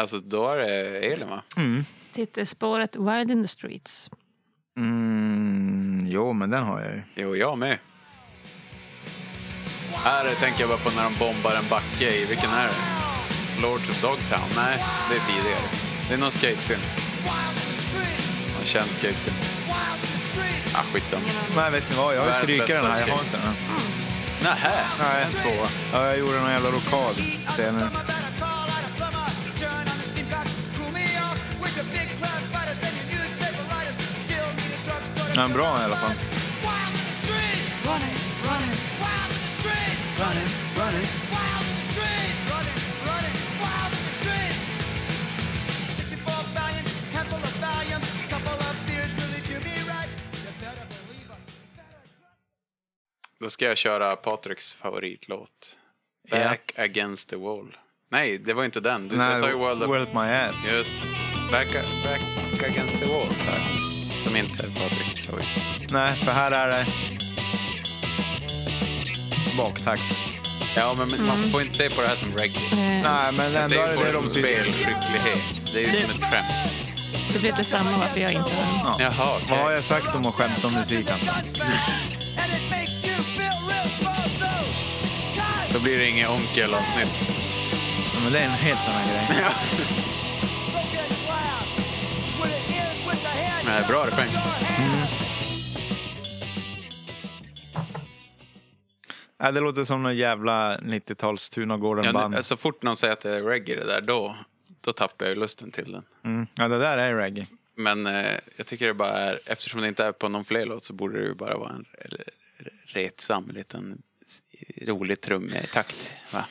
S1: Alltså, då är det Elin, va?
S2: Mm.
S3: Titelspåret Wild in the streets.
S2: Mm, jo, men den har jag ju.
S1: Jo, jag med. Här tänker jag bara på när de bombar en backe i, vilken är det? Lords of Dogtown? Nej, det är tidigare. Det är någon skatefilm. Någon känd skatefilm. Ah, skitsamma.
S2: Nej, vet ni vad? Jag vill
S1: Världens
S2: stryka den
S1: bästa
S2: här. Jag har
S1: skate.
S2: inte den. här.
S1: Nähä,
S2: Nej.
S1: en tvåa.
S2: Ja, jag gjorde någon jävla rockad senare. Den är bra i alla fall.
S1: Då ska jag köra Patriks favoritlåt.
S2: Ja.
S1: Back against the wall. Nej, det var inte den. Du jag sa ju World of...
S2: World My Ass.
S1: Just back, back against the wall. Där. Som inte är Patriks favorit.
S2: Nej, för här är det... Baktakt.
S1: Ja, men men man får inte se på det här som reggae.
S3: Eh,
S2: Nej, men
S1: Jag
S2: ändå
S1: ser
S2: Mm. är
S1: på
S2: det
S1: det som
S2: de tycker.
S1: spelskicklighet. Det är ju som ett skämt.
S3: Det blev detsamma varför jag inte har den.
S1: Jaha,
S2: Vad har
S1: okej.
S2: jag sagt om att skämta om musiken?
S1: Då blir det inget onkel-avsnitt.
S2: Ja, men det är en helt annan grej.
S1: Nej, bra refräng.
S2: Ja, det låter som någon jävla 90-tals
S1: Ja, alltså-
S2: Tunagården-band.
S1: nu- så fort någon säger att det är reggae det där, då, då tappar jag ju lusten till den.
S2: mm. ja, det där är reggae.
S1: Men eh, jag tycker det bara är, eftersom det inte är på någon fler låt så borde det ju bara vara en re- re- retsam liten s- rolig trumtakt. Va?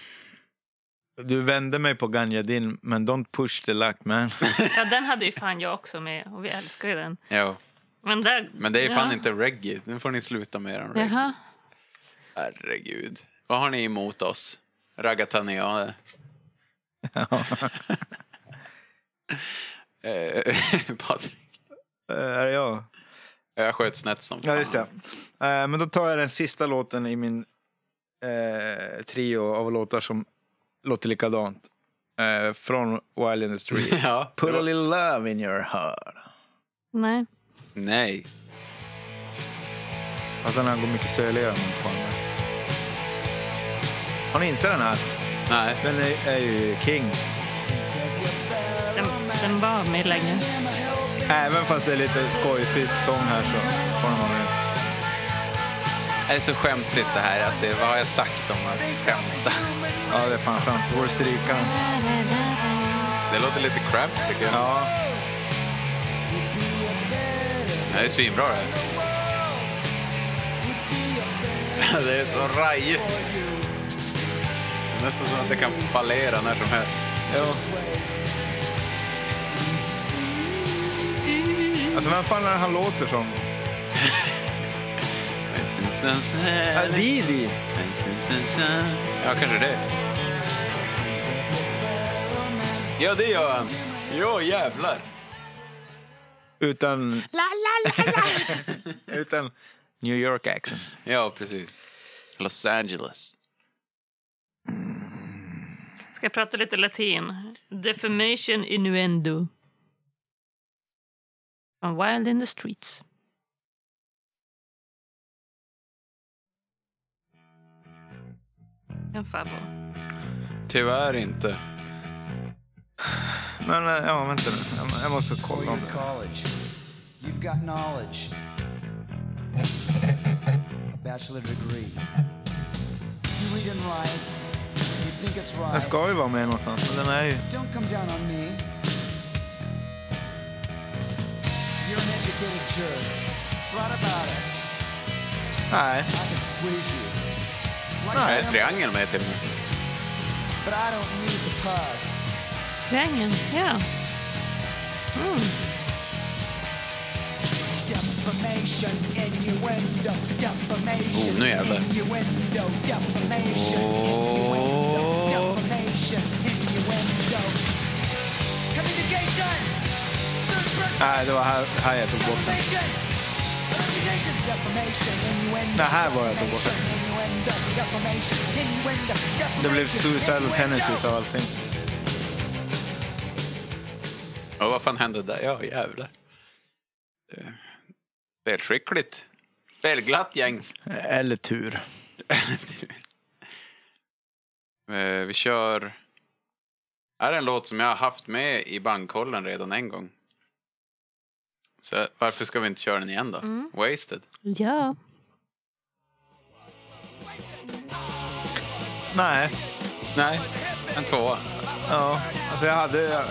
S2: Du vände mig på Ganjadin, men don't push the luck
S1: [laughs]
S2: man.
S3: Ja, den hade ju fan jag också med och vi älskar ju den.
S1: Jo.
S3: Men, där,
S1: Men det är ju fan
S3: ja.
S1: inte reggae. Nu får ni sluta med er reggae.
S3: Jaha.
S1: Herregud. Vad har ni emot oss? [laughs] Ragataneae. Eh, [laughs] Patrik.
S2: Eh, är det jag?
S1: Jag sköt snett som fan.
S2: Ja, just det. Eh, men då tar jag den sista låten i min eh, trio av låtar som låter likadant. Eh, från Wild Industry.
S1: [laughs] Ja,
S2: Put
S1: det
S2: a
S1: var-
S2: little love in your heart.
S3: Nej.
S1: Nej.
S2: Fast den här går mycket söligare än den förra. Har ni inte den här?
S1: Nej.
S2: Den är, är ju king.
S3: Den, den var med länge.
S2: Även fast det är lite skojsigt sång här så får den vara med.
S1: Det är så skämtigt det här. Alltså, vad har jag sagt om att skämta?
S2: Ja, det är fan sant. Vår strykaren.
S1: Det låter lite craps tycker jag.
S2: Ja.
S1: Det här är svinbra det här. [laughs] Det är så rajigt. Det är Nästan som att det kan fallera när som helst.
S2: Jo. Alltså vem fan är det han låter som? Ja, Didi!
S1: Ja, kanske det. Ja, det gör han. Ja, jävlar.
S2: Utan... [laughs] Utan New York accent.
S1: Ja, precis. Los Angeles.
S3: Ska jag prata lite latin? Defamation innuendo. From Wild in the streets. En favorit.
S1: Tyvärr inte.
S2: Men eh, ja, vänta nu. Jag- Jag måste kolla om
S5: You're in
S2: det.
S5: college. You've got knowledge. A bachelor degree. You read and write. You think it's
S2: Den
S5: right.
S2: ska ju vara med någonstans, men den är ju...
S5: Don't come down on me. You're an educated jerk. Right about us.
S2: Nej.
S5: I can squeeze you. Like
S1: Det
S5: I
S1: är
S5: am,
S1: triangel med till och med.
S5: but I don't need the pus.
S3: Triangeln, ja. Mm,
S5: Defamation, innuendo, defamation,
S1: Oh, nu jävlar.
S5: innuendo, defamation,
S1: Åh.
S5: defamation, innuendo. Communication, third person
S2: Nej, det var här, här jag tog bort den.
S5: defamation, reputation, defamation, innuendo.
S2: Det här var jag tog bort den.
S5: Innuendo, defamation, innuendo, defamation,
S2: Det blev Suicidal
S5: innuendo.
S2: Tendencies av allting.
S1: Och vad fan hände där? Ja, jävlar. Eh, Spelskickligt. Spelglatt gäng.
S2: Eller tur.
S1: Eh, Vi kör... Här är en låt som jag har haft med i bankkollen redan en gång. Så varför ska vi inte köra den igen då? Wasted.
S3: Ja.
S2: Nej.
S1: Nej, en tvåa.
S2: Ja. Alltså jag hade... jag-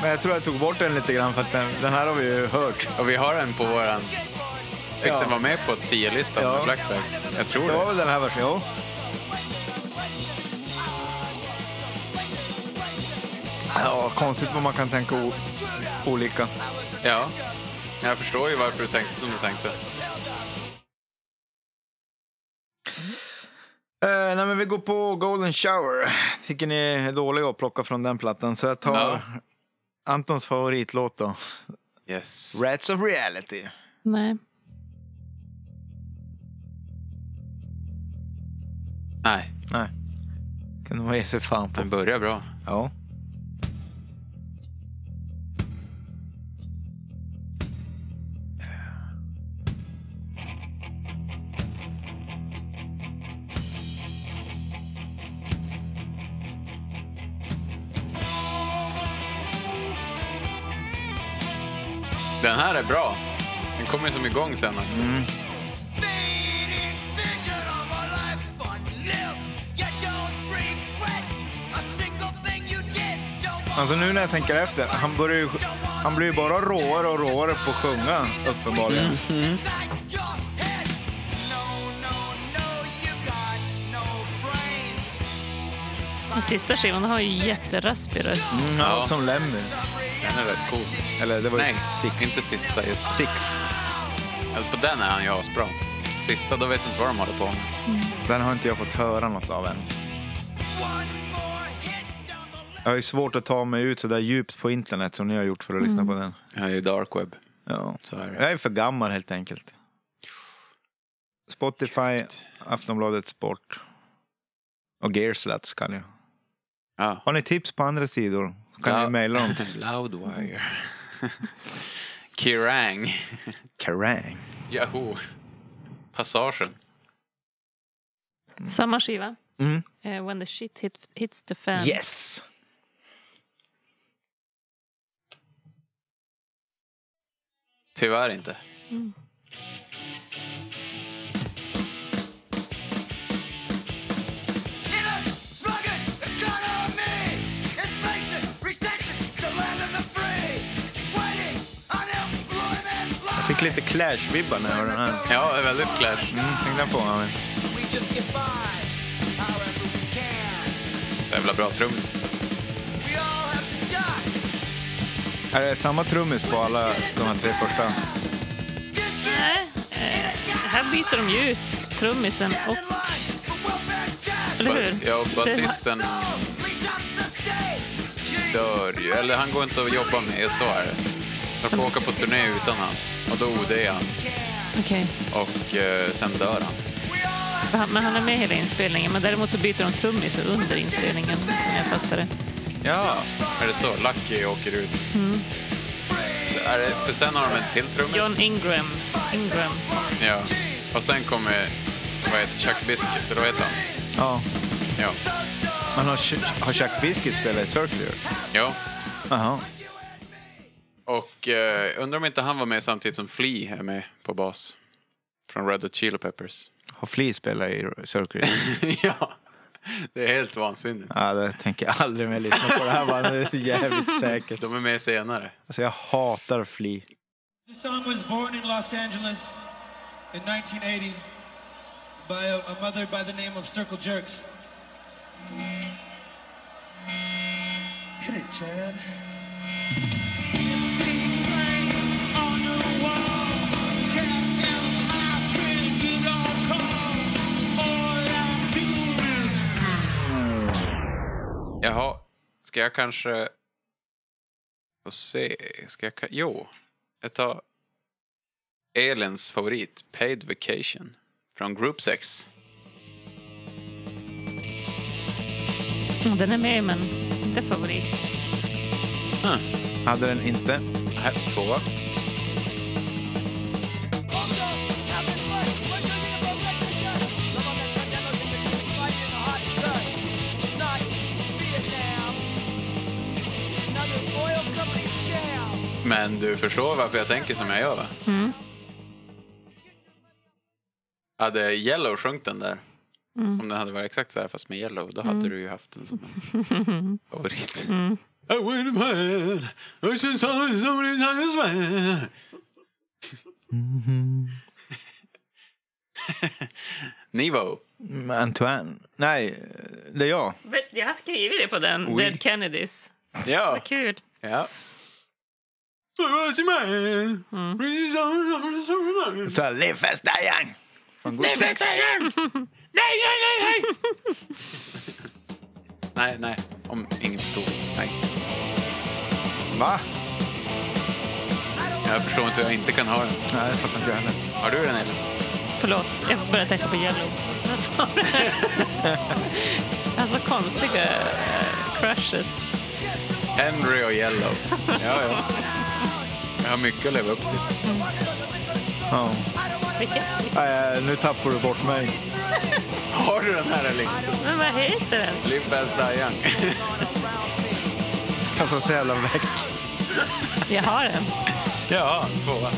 S2: Men jag tror jag tog bort den lite grann för att den, den här har vi ju hört.
S1: Och vi har den på våran... Fick
S2: Ja.
S1: den vara med på tio-listan
S2: Ja.
S1: med Blackback? Jag tror
S2: Det var
S1: det.
S2: väl den här versionen? Jo. Ja, konstigt vad man kan tänka o- olika.
S1: Ja. Jag förstår ju varför du tänkte som du tänkte.
S2: Eh, nej, men vi går på Golden Shower. Tycker ni är dåliga att plocka från den plattan. Så jag tar
S1: Ja.
S2: Antons favoritlåt då.
S1: Yes.
S2: Rats of Reality.
S3: Nej.
S1: Nej,
S2: Nej. Kunde man ge sig fan på.
S1: den börjar bra.
S2: Ja.
S1: Den här är bra. Den kommer som igång sen också.
S2: Mm.
S6: Fading vision of a life unlived. You don't regret a single thing you did. Don't want
S2: Alltså nu när jag tänker efter, han, börjar ju, han blir ju bara råare och råare på att sjunga uppenbarligen.
S6: inside your head. No, no, no, you got no brains.
S3: Den sista skivan har ju jätteraspig röst.
S2: Mm, han låter som Lemmy.
S1: Den är rätt cool.
S2: Eller det var ju
S1: Nej,
S2: Six.
S1: inte sista. Just
S2: Six.
S1: Alltså, på den är han ju asbra. Sista, då vet jag inte vad de håller på med.
S2: Den har inte jag fått höra något av än.
S6: One more hit down the
S2: Jag har ju svårt att ta mig ut så där djupt på internet som ni har gjort för att lyssna på den.
S1: Jag är ju dark web.
S2: Ja.
S1: Så är det.
S2: Jag är för gammal helt enkelt. Spotify, Aftonbladet Sport och Gearslats kan jag.
S1: Ja.
S2: Har ni tips på andra sidor kan
S1: Ja.
S2: ni mejla dem [laughs]
S1: [laughs]
S2: till
S1: Loudwire. Kerrang.
S2: Kerrang.
S1: Yahoo. Passagen.
S3: Samma skiva.
S2: Mm.
S3: Eh, When the shit hit, hits the fan.
S2: Yes!
S1: Tyvärr inte.
S6: In a sluggish economy, inflation, recession, the land of the free. Waiting, unemployment
S2: Jag fick lite Clash-vibbar när jag hörde den här.
S1: Ja, det är väldigt clash.
S2: Mm, tänkte jag på. Ja, men.
S6: We just get by, however we can.
S1: Jävla bra trummis.
S6: We all have to die.
S2: Är det samma trummis på alla de här tre första?
S3: Nej, eh, här byter de ju ut trummisen och... Eller hur?
S1: Ja, basisten dör ju. Eller han går inte att jobba med, E så är det. De får åka på turné utan han. Och då OD är han.
S3: Okej.
S1: Och eh, sen dör han.
S3: Han- Men han är med hela inspelningen. Men däremot så byter de trummis under inspelningen, som jag fattar det.
S1: Ja, är det så? Lucky åker ut.
S3: Mm.
S1: Så är det, för sen har de en till trummis.
S3: John Ingram. Ingram.
S1: ja. Och sen kommer vad heter Chuck Biscuit, eller vad heter han?
S2: Ja.
S1: Ja.
S2: Men har, Ch- har Chuck Biscuit spelat i Circular?
S1: ja.
S2: Jaha.
S1: Och eh, undrar om inte han var med samtidigt som Flea är med på bas. Från Red Hot Chili Peppers.
S2: Har Flea spelat i Circular?
S1: [laughs] ja, det är helt vansinnigt.
S2: Ja, det tänker jag aldrig mer lyssna på. Det här [laughs] bandet är så jävligt säkert.
S1: De är med senare.
S2: Alltså jag hatar Flea.
S7: This song was born in Los Angeles in 1980 by a, a mother by the name of Circle Jerks. Hit it, Chad.
S1: Jaha, ska jag kanske... Få se. Ska jag... ka- Jo, jag tar Elins favorit, Paid Vacation, från Group Sex.
S3: Ja, Mm, Den är med, men inte favorit.
S2: Hade den inte.
S1: Här, tvåa. Men du förstår varför jag tänker som jag gör, va? Hade Yellow sjungit den där, om den hade varit exakt så här fast med Yellow, då hade du ju haft den som en favorit. I went to bed, I said sorry so many times, man. [laughs] Nivo.
S2: Mm, Antoine. Nej, det är jag.
S3: Vet- Jag har skrivit det på den.
S1: Oui.
S3: Dead Kennedys.
S1: Ja.
S3: Vad kul.
S1: ja.
S2: Så här, live fast die young! Från Group Sex.
S1: Nej, nej. Om ingen förstod. Nej.
S2: Va?
S1: Jag förstår inte hur jag inte kan ha den.
S2: Nej, det fattar inte jag heller.
S1: Har du den eller?
S3: Förlåt, jag börjar tänka på Yellow. Vad sa du? [laughs] Alltså konstiga eh, crushes.
S1: Henry och Yellow. Ja, ja. Jag har mycket att leva upp till.
S2: Ja.
S3: Vilka?
S2: Nej, nu tappar du bort mig.
S1: Har du den här eller inte?
S3: Men vad heter den?
S1: Live fast, die young.
S2: Alltså så jävla väck.
S3: Jag har den.
S1: Ja, tvåa.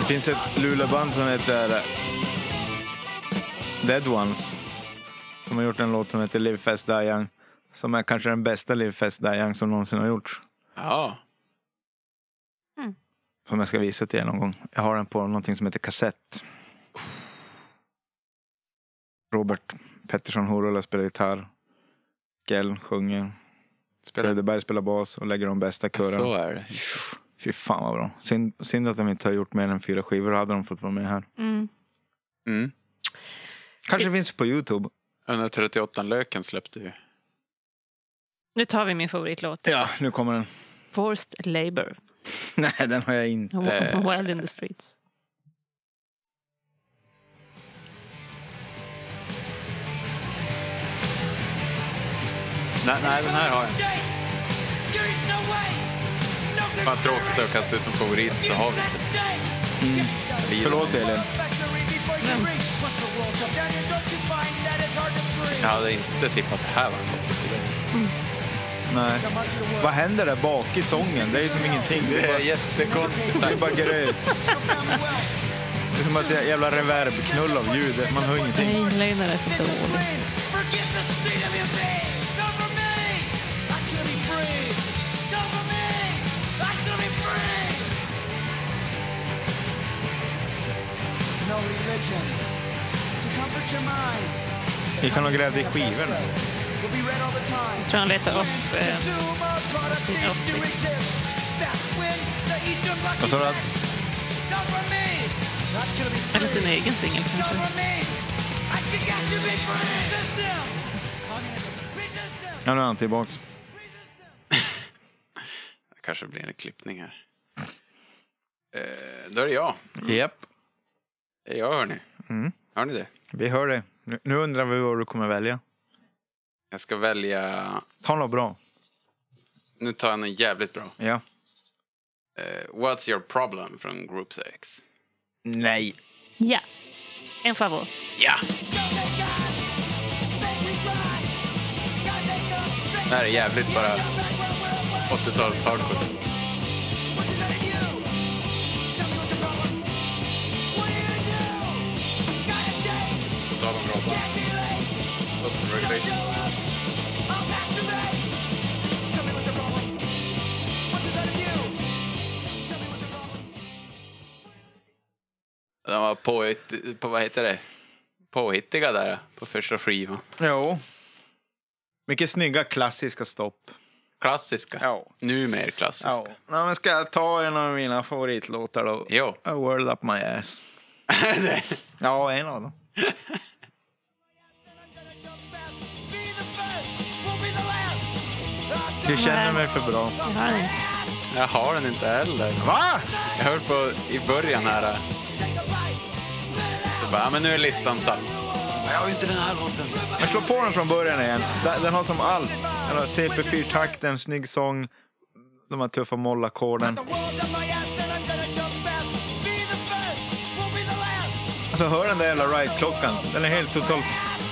S2: Det finns ett Luleåband som heter eh, Dead Ones. Som har gjort en låt som heter Live Fast Die Young. Som är kanske den bästa Live Fast Die Young som någonsin har gjorts.
S1: Ja.
S2: Som jag ska visa till er någon gång. Jag har den på någonting som heter kassett. Robert Pettersson Horula spelar gitarr. Skell sjunger.
S1: Spelar Alltså,
S2: Söderberg spelar bas och lägger de bästa
S1: Så
S2: kurren.
S1: är det.
S2: Fy fan vad bra. Synd, synd att de inte har gjort mer än fyra skivor. Då hade de fått vara med här.
S3: Mm.
S1: Mm.
S2: Kanske finns på Youtube.
S1: 138 Löken släppte ju.
S3: Nu tar vi min favoritlåt.
S2: Ja, nu kommer den.
S3: Forced Labour.
S2: [laughs] Nej, den har jag inte.
S3: Wild in the streets.
S1: Nej, nej, den här har jag. Fan tråkigt att kasta ut en favorit så har vi inte.
S2: Mm. Förlåt, Elin.
S1: Jag hade inte tippat det här var en topp.
S2: Nej.
S1: Mm.
S2: Vad händer där bak i sången? Det är ju som ingenting. Det
S1: Det är
S2: är bara,
S1: jättekonstigt.
S2: det är bara gröt. Det är som att det är en jävla reverbknull av ljud. Man hör
S3: Jag
S2: ingenting.
S3: gillar ju när det är så dåligt.
S5: No religion to comfort your mind.
S2: Vi kan ha grädde i skivorna.
S5: Will be read all the time.
S3: Jag tror han letar upp... Eh,
S6: Consumer products cease to exist. That's when the Eastern Bloc
S2: Vad sa du?
S6: collapsed. Not for me. Not gonna be
S3: eller
S6: free.
S3: sin egen singel
S6: Not
S3: kanske.
S6: for me. I think I should be free. Resist them. Communism. Resist them.
S2: Ja, nu är han tillbaks.
S6: Resist them.
S1: Det kanske blir en klippning här. Eh, då är det jag.
S2: Japp,
S1: Det är jag hörni.
S2: Mm.
S1: Hör ni det?
S2: vi hör dig. Nu- Nu undrar vi vad du kommer välja.
S1: Jag ska välja...
S2: Ta något bra.
S1: Nu tar jag något jävligt bra.
S2: Ja.
S1: Eh, What's your problem från Group 6.
S2: Nej.
S3: Ja. En favorit.
S1: Ja! Det här är jävligt bara 80-tals hardcore. På tal om Robban. Låt som Recreation. De var påhitt, på, vad heter det? påhittiga där på första skivan.
S2: Jo. Mycket snygga klassiska stopp.
S1: Klassiska.
S2: Ja.
S1: Nu mer klassiska.
S2: Ja. Nej, men ska jag ta en av mina favoritlåtar då?
S1: Jo.
S2: A world up my ass. Ja, en av dem. Du känner mig för bra.
S3: Jag har den inte.
S1: Jag har den inte heller.
S2: Va?
S1: Jag höll på i början här. äh, Så bara, ja, men nu är listan sann. Jag har ju inte den här låten.
S2: Men slå på den från början igen. Den- Den har som allt. Den har CP4-takten, snygg sång, de här tuffa mollackorden. Alltså hör den där jävla right-klockan. Den är helt totalt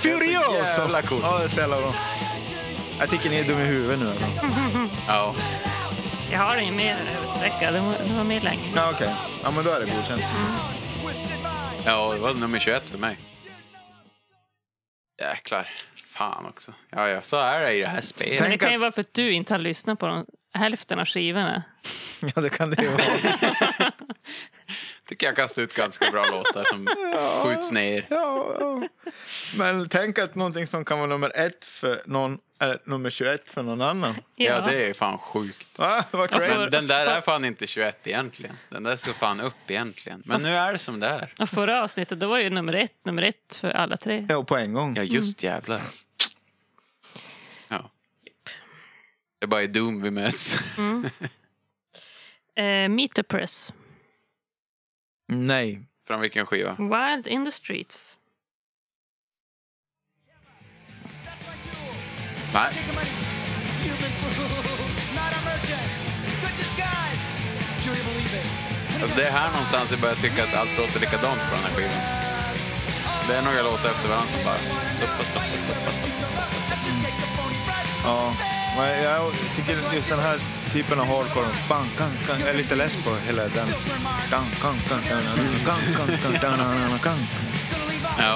S2: furioso.
S1: jävla cool.
S2: Ja, det är så jävla bra. Jag tycker ni är dum i huvudet nu. Eller?
S1: Ja.
S3: Jag har den ju mer överstreckad. Den var, den var med länge.
S2: Ja, okej. Ja, men då är det godkänt. [laughs]
S1: ja, det var nummer 21 för mig. Jäklar. Fan också. Ja, ja, så är det i det här
S3: Men
S1: spelet.
S3: det
S2: Tänk
S3: kan ju
S2: att-
S3: vara för att du inte har lyssnat på de, hälften av skivorna.
S2: Ja, det kan det ju vara.
S1: Tycker jag kastar ut ganska bra låtar
S2: [laughs]
S1: som skjuts ner.
S2: Ja, ja. Men tänk att någonting som kan vara nummer ett för någon är nummer 21 för någon annan.
S1: Ja, det är fan sjukt.
S2: Va? Vad
S3: Ja,
S2: crazy.
S3: för-
S1: Men den där är fan inte 21 egentligen. Den där ska fan upp egentligen. Men nu är det som det är.
S3: Och förra avsnittet då var ju nummer ett, nummer ett för alla tre.
S2: Ja, på en gång.
S1: Ja, just jävlar. Ja. Det är bara i Doom vi möts. [laughs]
S3: Eh, Meet the Press,
S2: Nej.
S1: Från vilken skiva?
S3: Wild in the streets.
S1: Nej. Alltså det är här någonstans jag börjar tycka att allt låter likadant på den här skivan. Det är några låtar efter varandra som bara... Suppa, suppa, suppa.
S2: Ja. Men jag tycker just den här typen av hardcore. Bang, gang, gang. Jag är lite less på hela den. Gang, gang, gang, gang, gang, gang, gang, gang, gang, gang.
S1: Ja.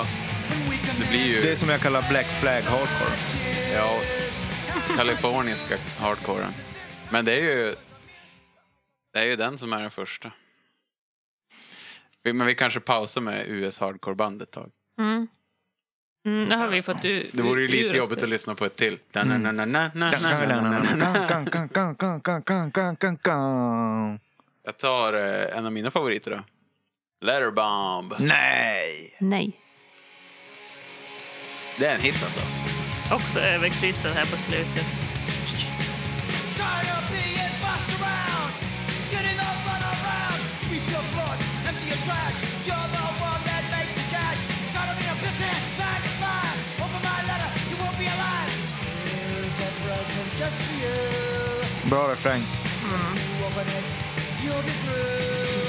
S1: Det blir ju
S2: Det är som jag kallar Black Flag Hardcore.
S1: ja, kaliforniska hardcoren. Men det är ju det är ju den som är den första. Vi- Men vi kanske pausar med US hardcore-band ett tag.
S3: Mm, det har vi fått ur
S1: Det vore ju
S3: ur oss
S1: lite jobbigt
S3: det.
S1: att lyssna på ett till.
S2: Mm.
S1: Da-na-na-na-na-na-na-na-na.
S2: [laughs] Gang, gang, gang, gang, gang, gang, gang, gang, gang.
S1: Jag tar eh, en av mina favoriter då. Letterbomb.
S2: Nej!
S3: Nej.
S1: Det är en hit alltså.
S3: Också överkryssad här på slutet.
S6: Tired of being bossed around, getting up and around. Sweep your floors, empty your trash. You're the one that makes the cash. Tired of being a pissant, back and fire. Open my letter, you won't be alive. Here's a present just for you.
S2: Bra refräng.
S6: You open it, you'll be through.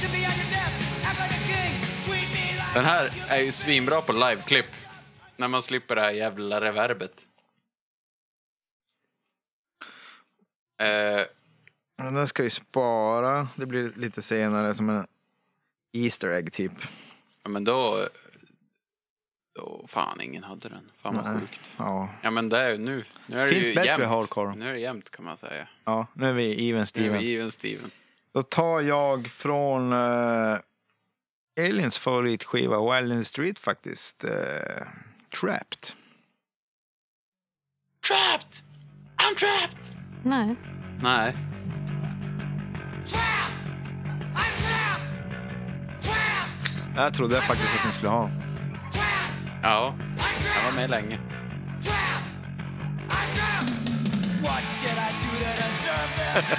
S6: Sit behind your desk, act like a king. Treat me like
S1: Den här är ju svinbra på liveklipp. När man slipper det här jävla reverbet. Eh,
S2: Den där ska vi spara. Det blir lite senare som en Easter egg typ.
S1: men då... då... Fan, ingen hade den. Fan vad sjukt.
S2: Ja.
S1: Ja men det är ju nu. Nu är
S2: Finns
S1: det ju
S2: bättre
S1: jämnt.
S2: hardcore.
S1: Nu är det jämnt kan man säga.
S2: ja, nu är vi even
S1: Nu är vi
S2: Steven.
S1: Even Steven.
S2: Då tar jag från eh, Aliens favoritskiva Wild in the Street faktiskt. eh, Trapped.
S1: Trapped! I'm trapped!
S3: Nej.
S1: Nej.
S6: trap. I'm trap. Trap.
S2: Det här trodde jag faktiskt att ni skulle ha.
S6: Trap.
S1: Ja,
S6: I'm
S1: jag
S6: trap.
S1: var med länge.
S6: Trap! I'm trapped! What did I do to deserve this?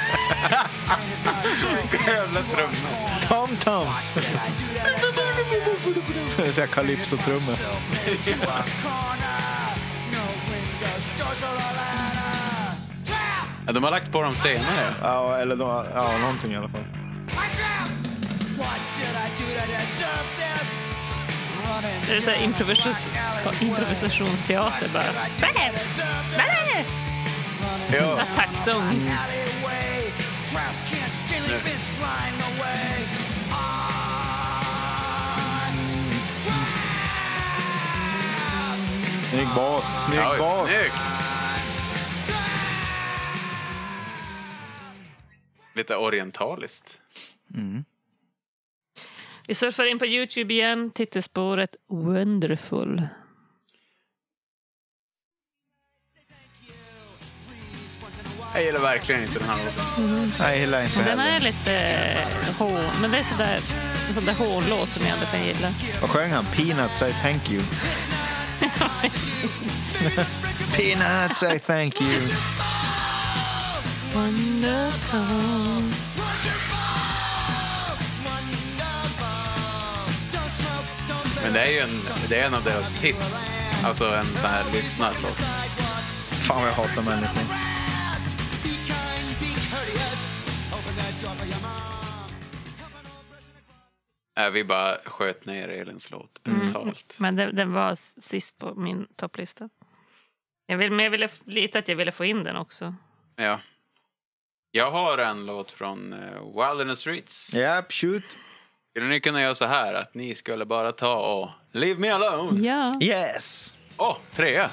S1: Jävla trummor.
S2: [laughs] Tom-toms!
S6: Did I do to deserve
S2: Det är calypso-trummor.
S6: this? To a corner, no windows, doors or a ladder. Trap!
S1: Ja, de har lagt på dem senare.
S2: Ja, eller då, ja, någonting i alla fall.
S6: I'm trapped! What did I do to deserve this? Running
S3: Det är så här improvisations Oh, improvisationsteater bara. Nej! Nej!
S1: Ja.
S3: Attacksång.
S6: alleyway. Traps can't steal it, it's flying away. I'm
S2: Snygg bas, snygg
S1: Ja,
S2: bas.
S1: snyggt! Lite orientaliskt.
S3: Vi surfar in på Youtube igen. Titelspåret Wonderful.
S1: Jag gillar verkligen inte den här låten.
S2: Nej, jag gillar inte
S3: Den
S2: heller.
S3: är lite H, men det är sådär, en sån där H-låt som jag inte kan gilla.
S2: Vad sjöng han? Peanuts I thank [laughs] you. Peanuts I thank you.
S3: Wonderful.
S1: Men det är ju en, det är en av deras hits. Alltså en sån här lyssnad låt.
S2: Fan vad jag hatar människor.
S1: Äh, vi bara sköt ner Elins låt brutalt.
S3: Men den, den var s- sist på min topplista. Jag vill, men jag ville f- lite att jag ville få in den också.
S1: Ja. Jag har en låt från eh, Wild in the Streets.
S2: Japp, shoot.
S1: Skulle ni kunna göra så här att ni skulle bara ta och Leave me alone!
S3: Ja.
S2: Yes!
S1: Åh, trea!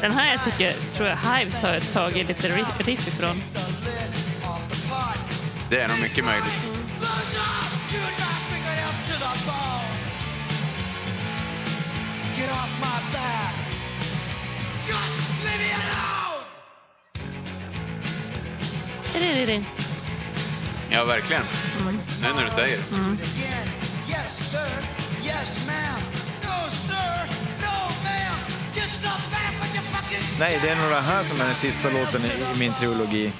S3: Den här jag tycker, tror jag Hives har tagit lite ri- riff ifrån.
S1: Det är nog mycket möjligt.
S6: blown up, chewed my fingernails to the bone. Get off my back. Just leave me alone!
S1: Ja, verkligen. Nu när du säger det.
S6: again. Yes, sir. Yes, ma'am. No, sir. No, ma'am. Get the back with your fucking
S2: Nej, det är nog det här som är den sista låten i, i min trilogi.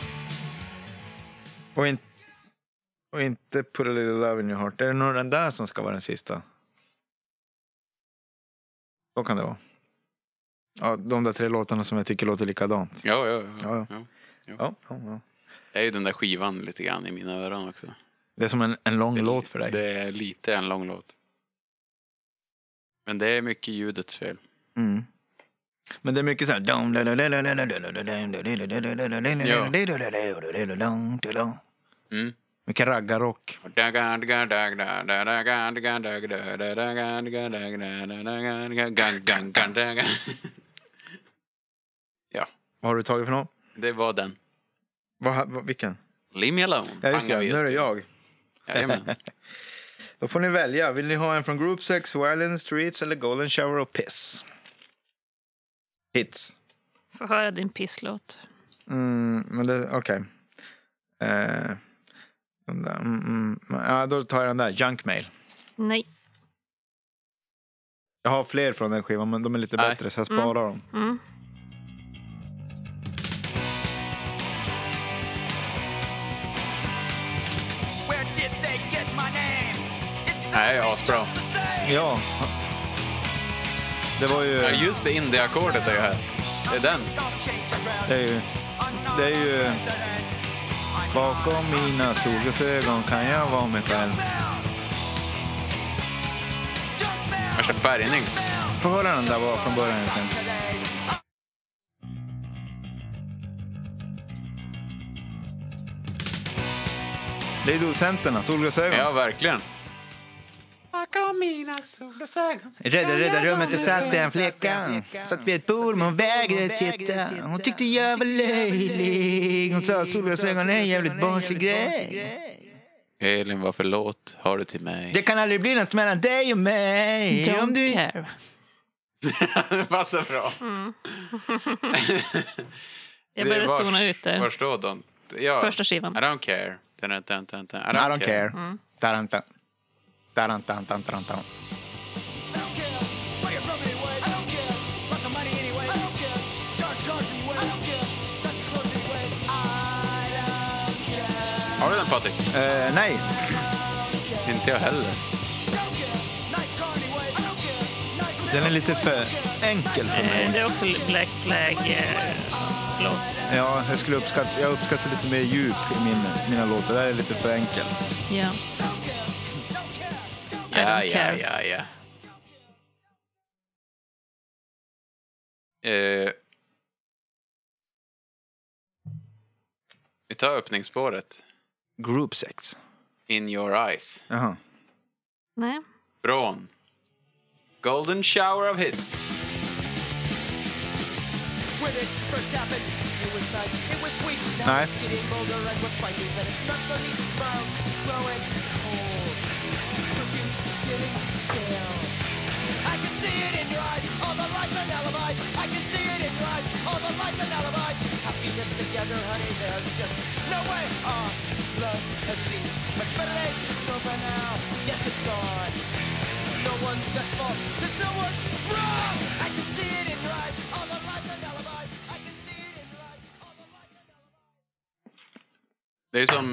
S2: Och, in, och inte Put a little love in your heart. Det är nog den där som ska vara den sista. Så kan det vara. Ja, de där tre låtarna som jag tycker låter likadant.
S1: Ja, ja, ja.
S2: Ja,
S1: ja.
S2: Ja, ja, ja.
S1: Det är ju den där skivan lite grann i mina öron också.
S2: Det är som en, en lång låt för dig.
S1: Det är lite en lång låt. Men det är mycket ljudets fel.
S2: Mm. Men det är mycket så här...
S1: Mm.
S2: Mycket raggarrock. Vad har du tagit för någon?
S1: Det var den.
S2: Vad, vad, vilken?
S1: Leave me alone.
S2: Ja, just det.
S1: pangar vi
S2: Nu
S1: just
S2: är det
S1: nu.
S2: jag.
S1: Jajamän.
S2: Då får ni välja. Vill ni ha en från Group Sex, Wild in the Streets eller Golden Shower och Piss? Hits.
S3: Få höra din pisslåt.
S2: Mm, men det... Okej. Eh, den där, mm, mm. Ja, då tar jag den där. Junk Mail.
S3: Nej.
S2: Jag har fler från den skivan, men de är lite
S1: Nej.
S2: bättre så jag sparar dem.
S6: Where did they get my name? It's
S1: Nej,
S6: always
S1: asbra.
S6: just the same.
S2: Ja. Det var
S1: Ja,
S2: ju...
S1: just det. Indie-ackordet är ju här. Det är den.
S6: Don't change your dress.
S2: Det är ju det är ju-
S6: I'm not a president. I'm
S2: bakom
S6: not a
S2: mina solglasögon kan jag vara mig själv.
S1: Värsta färgning.
S2: Få höra den där var från början egentligen. Det är docenterna, solglasögon.
S1: Ja, verkligen.
S2: Rädda, rädda rummet är satt den flickan. Satt vid ett bord men hon vägrade titta. Hon tyckte jag var löjlig. Hon sa att solglasögon är en jävligt barnslig grej.
S1: Elin, vad för låt har du till mig?
S2: Det kan aldrig bli något mellan dig och mig. Om
S3: Don't
S2: du...
S3: care.
S1: Det [laughs] passar bra. Det
S3: Jag började
S1: var-
S3: zona ut där.
S1: Var står de? Ja.
S3: Första skivan.
S1: I don't care. Dun, dun, dun, dun, dun. I
S2: I
S1: don't,
S2: don't care. Taranta. Tarantan, tarantan.
S6: I don't care where you're from anyway. I don't care. Lots of money anyway. I don't care. Charge cars anyway. I don't care. Got your clothes anyway. I don't care.
S1: Har du den, Patrik?
S2: Eh, nej.
S1: Inte jag heller.
S6: Don't care. Nice car anyway. I don't care. Nice
S2: Den är
S6: man
S2: lite för enkel för mig.
S3: Eh, Det är också Black eh, Flag-låt.
S1: Eh.
S2: Ja, jag, skulle uppskatta, jag uppskattar lite mer djup i min, mina låtar. Det här är lite för enkelt.
S3: Ja. I
S1: Ja,
S3: don't
S1: ja,
S3: care.
S1: ja, ja. Eh, vi tar öppningsspåret.
S2: Group sex.
S1: In your eyes.
S2: Jaha.
S3: Nej.
S1: Från Golden Shower of Hits.
S6: When it first happened, it was nice, it was sweet. Now
S2: Nej.
S6: it's getting older and we're finding that it's not so neat. Smiles growing cold. Perfume's getting stale. I can see it in your eyes, all the lies and alibis. I can see it in your eyes, all the lies and alibis. Happiness together, honey, there's just no way. Our love has seen much better days. So for now, yes, it's gone. No one's at fault. There's no one's wrong. I can see it in your eyes. All the lies and alibis. I can see it in your eyes. All the lies and alibis.
S1: Det är som...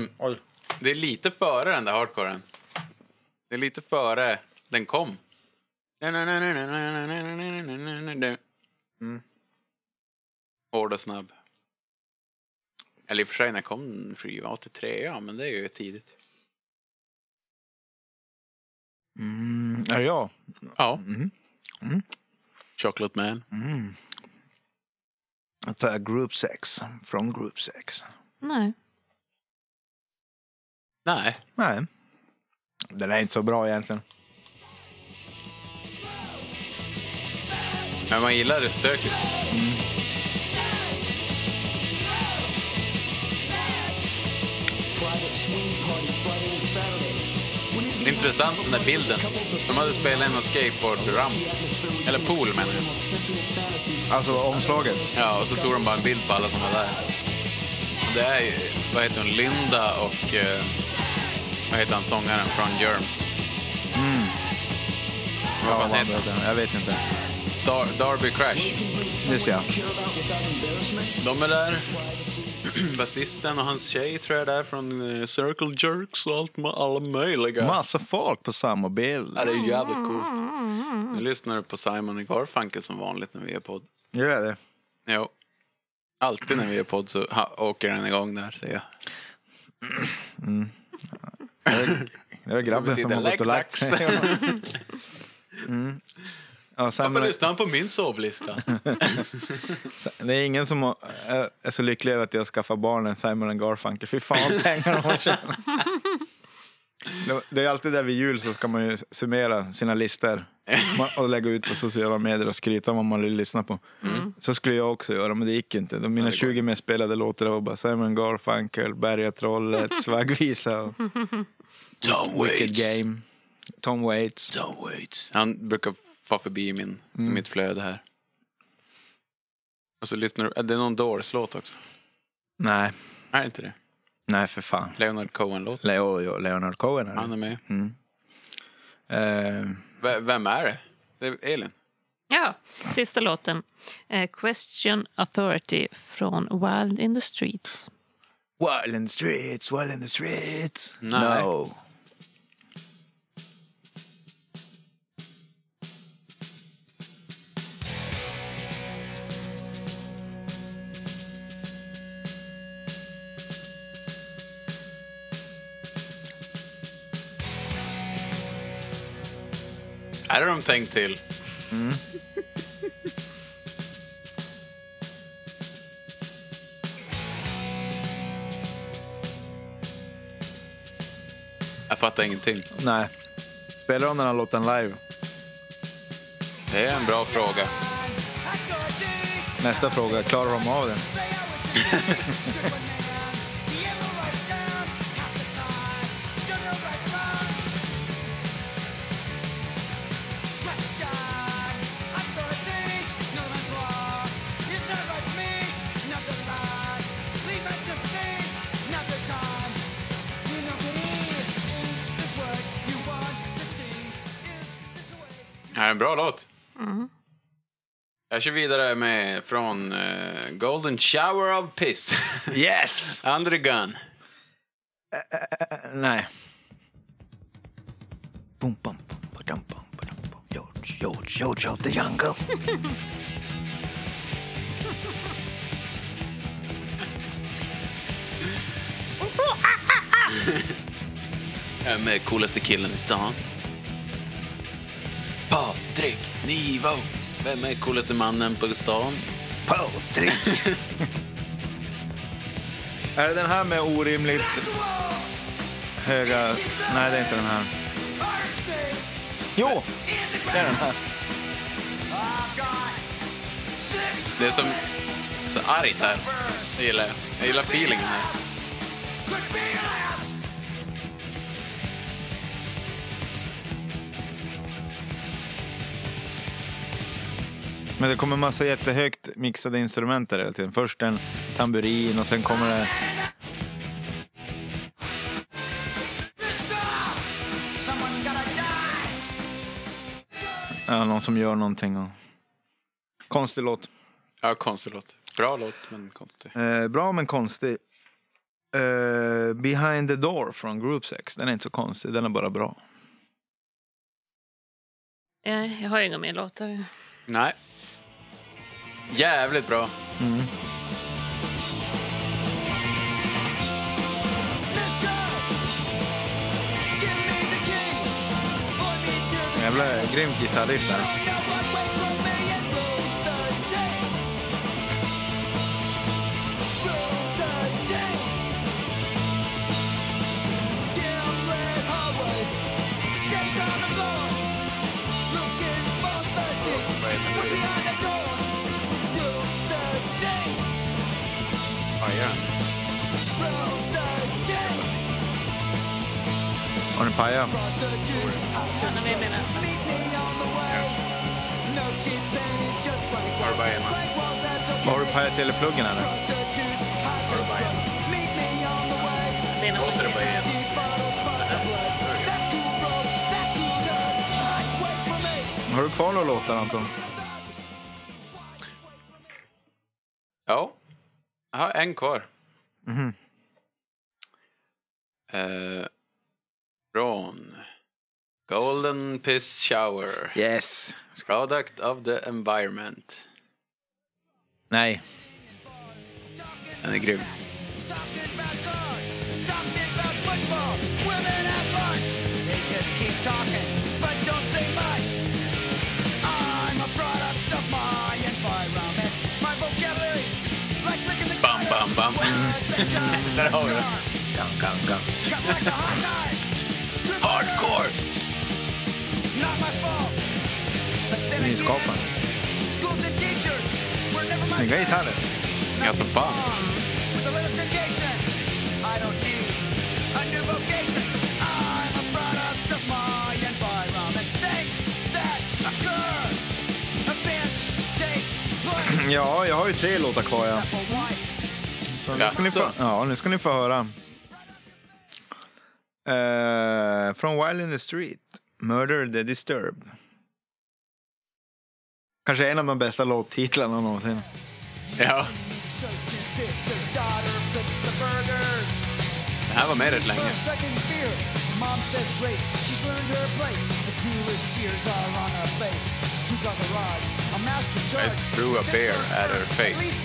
S1: Det är lite före den där hardcoren. Det är lite före den kom. Hård och snabb. Eller i och för sig, när kom den skivan? 83, ja, men det är ju tidigt.
S2: Mm, är det jag?
S1: Ja. Chocolate Man.
S2: Då tar jag Group sex. Från Group sex.
S3: Nej.
S1: Nej.
S2: Nej. Den är inte så bra egentligen.
S1: Men man gillar det stöket. Det är Intressant den där bilden. De hade spelat en skateboardramp. Eller pool menar jag.
S2: Alltså omslaget.
S1: Ja, och så tog de bara en bild på alla som var där. Och Det är ju, vad heter hon, Linda och eh, vad heter han, sångaren från Germs. Vad fan
S2: vad
S1: heter han?
S2: heter den? Jag vet inte.
S1: Dar- Darby Crash.
S2: Just det, ja.
S1: De är där. [clears throat] Basisten och hans tjej tror jag är där från eh, Circle Jerks och allt, ma- alla möjliga.
S2: Massa folk på samma bild.
S1: Ja, det är ju jävligt coolt. Nu lyssnar du på Simon och Garfunkel som vanligt när vi gör podd.
S2: Gör jag det?
S1: Jo. Alltid när vi gör podd så ha, åker den igång där, säger jag. [laughs]
S2: Det var grabben som har gått och lagt sig. Mm. Ja, sen,
S1: Varför lyssnar han på min
S2: [laughs]
S1: sovlista?
S2: det är ingen som eh, är så lycklig över att jag skaffar barn än Simon and Garfunkel. Fy fan vad pengar de har [laughs] tjänat. Det- Det är alltid där vid jul så ska man ju summera sina [laughs] listor Man- och lägga ut på sociala medier och skryta om vad man vill lyssna på. Så skulle jag också göra, men Mm. det gick ju inte. De mina 20 mest spelade låtar var bara Simon and Garfunkel, Bergatrollet, [laughs] Svaggvisa och
S1: Tom
S2: Wicked
S1: Waits.
S2: Game. Tom Waits.
S1: Tom Waits. Han brukar få förbi i min,
S2: Mm.
S1: i mitt flöde här. Och så lyssnar du... Är det någon Doors-låt också?
S2: Nej,
S1: Är det inte det?
S2: nej för fan.
S1: Leonard Cohen-låt.
S2: Leo, jo, Leonard Cohen är
S1: Han
S2: det.
S1: är med.
S2: Eh,
S1: V- vem är det? Det är Elin.
S3: Ja, sista låten. Eh, Question Authority från Wild in the Streets.
S2: Wild in the streets, wild in the streets.
S1: Nej.
S2: No.
S1: Är det de tänkt till? Mm. Jag fattar ingenting.
S2: Nej. Spelar de den här låten live?
S1: Det är en bra fråga.
S2: Nästa fråga, klarar de av den?
S1: Det här är en bra låt. Jag kör vidare med från eh, Golden Shower of Piss. [laughs]
S2: Yes!
S1: Undergun.
S2: Nej. Boom, bum, bum, ba-dum, bum, ba-dum, bum. George, George, George of the jungle.
S1: Jag är med coolaste killen i stan. Patrik Nivo. Vem är coolaste mannen på stan?
S2: Patrik! är det den här med orimligt höga... Nej, det är inte den här. Jo! Det är den här.
S1: Det är som så argt här. Jag gillar, jag. jag gillar feelingen här.
S2: Men det kommer massa jättehögt mixade instrument där hela tiden. Först en tamburin och sen kommer det... Ja, någon som gör någonting. Och... Konstig låt.
S1: Ja, konstig låt. Bra låt, men konstig.
S2: Eh, bra men konstig. Eh, Behind the door från Group Sex. Den är inte så konstig, den är bara bra.
S3: Eh, jag har inga mer låtar.
S1: Nej. Jävligt bra.
S2: Jävla grymt gitarriff där.
S1: Ja, gör den.
S2: Har den pajat?
S3: Sen har vi mina.
S1: Har du bara hemma?
S2: Har du pajat telepluggen eller?
S1: Har du bara hemma?
S3: Det är nog
S1: Låter det bara igen?
S2: Har du kvar några låtar Anton?
S1: Ja. Jag har en kvar. Eh, från Golden Piss Shower.
S2: Yes.
S1: Product of the environment.
S2: Nej.
S1: Den är grym.
S6: Keep talking, but don't say much. On [laughs]
S8: Där har vi det.
S6: Hardcore!
S2: Nyskapande. Snygga gitarrer.
S1: Ja, som fan.
S2: Ja, jag har ju tre låtar kvar. Ja. Så nu, ska ni
S1: Jaså?
S2: få, ja, nu ska ni få höra. Eh, från Wild in the Street, Murder the Disturbed. Kanske en av de bästa låttitlarna någonsin.
S1: Ja, det här var med rätt länge. I threw a bear at her face.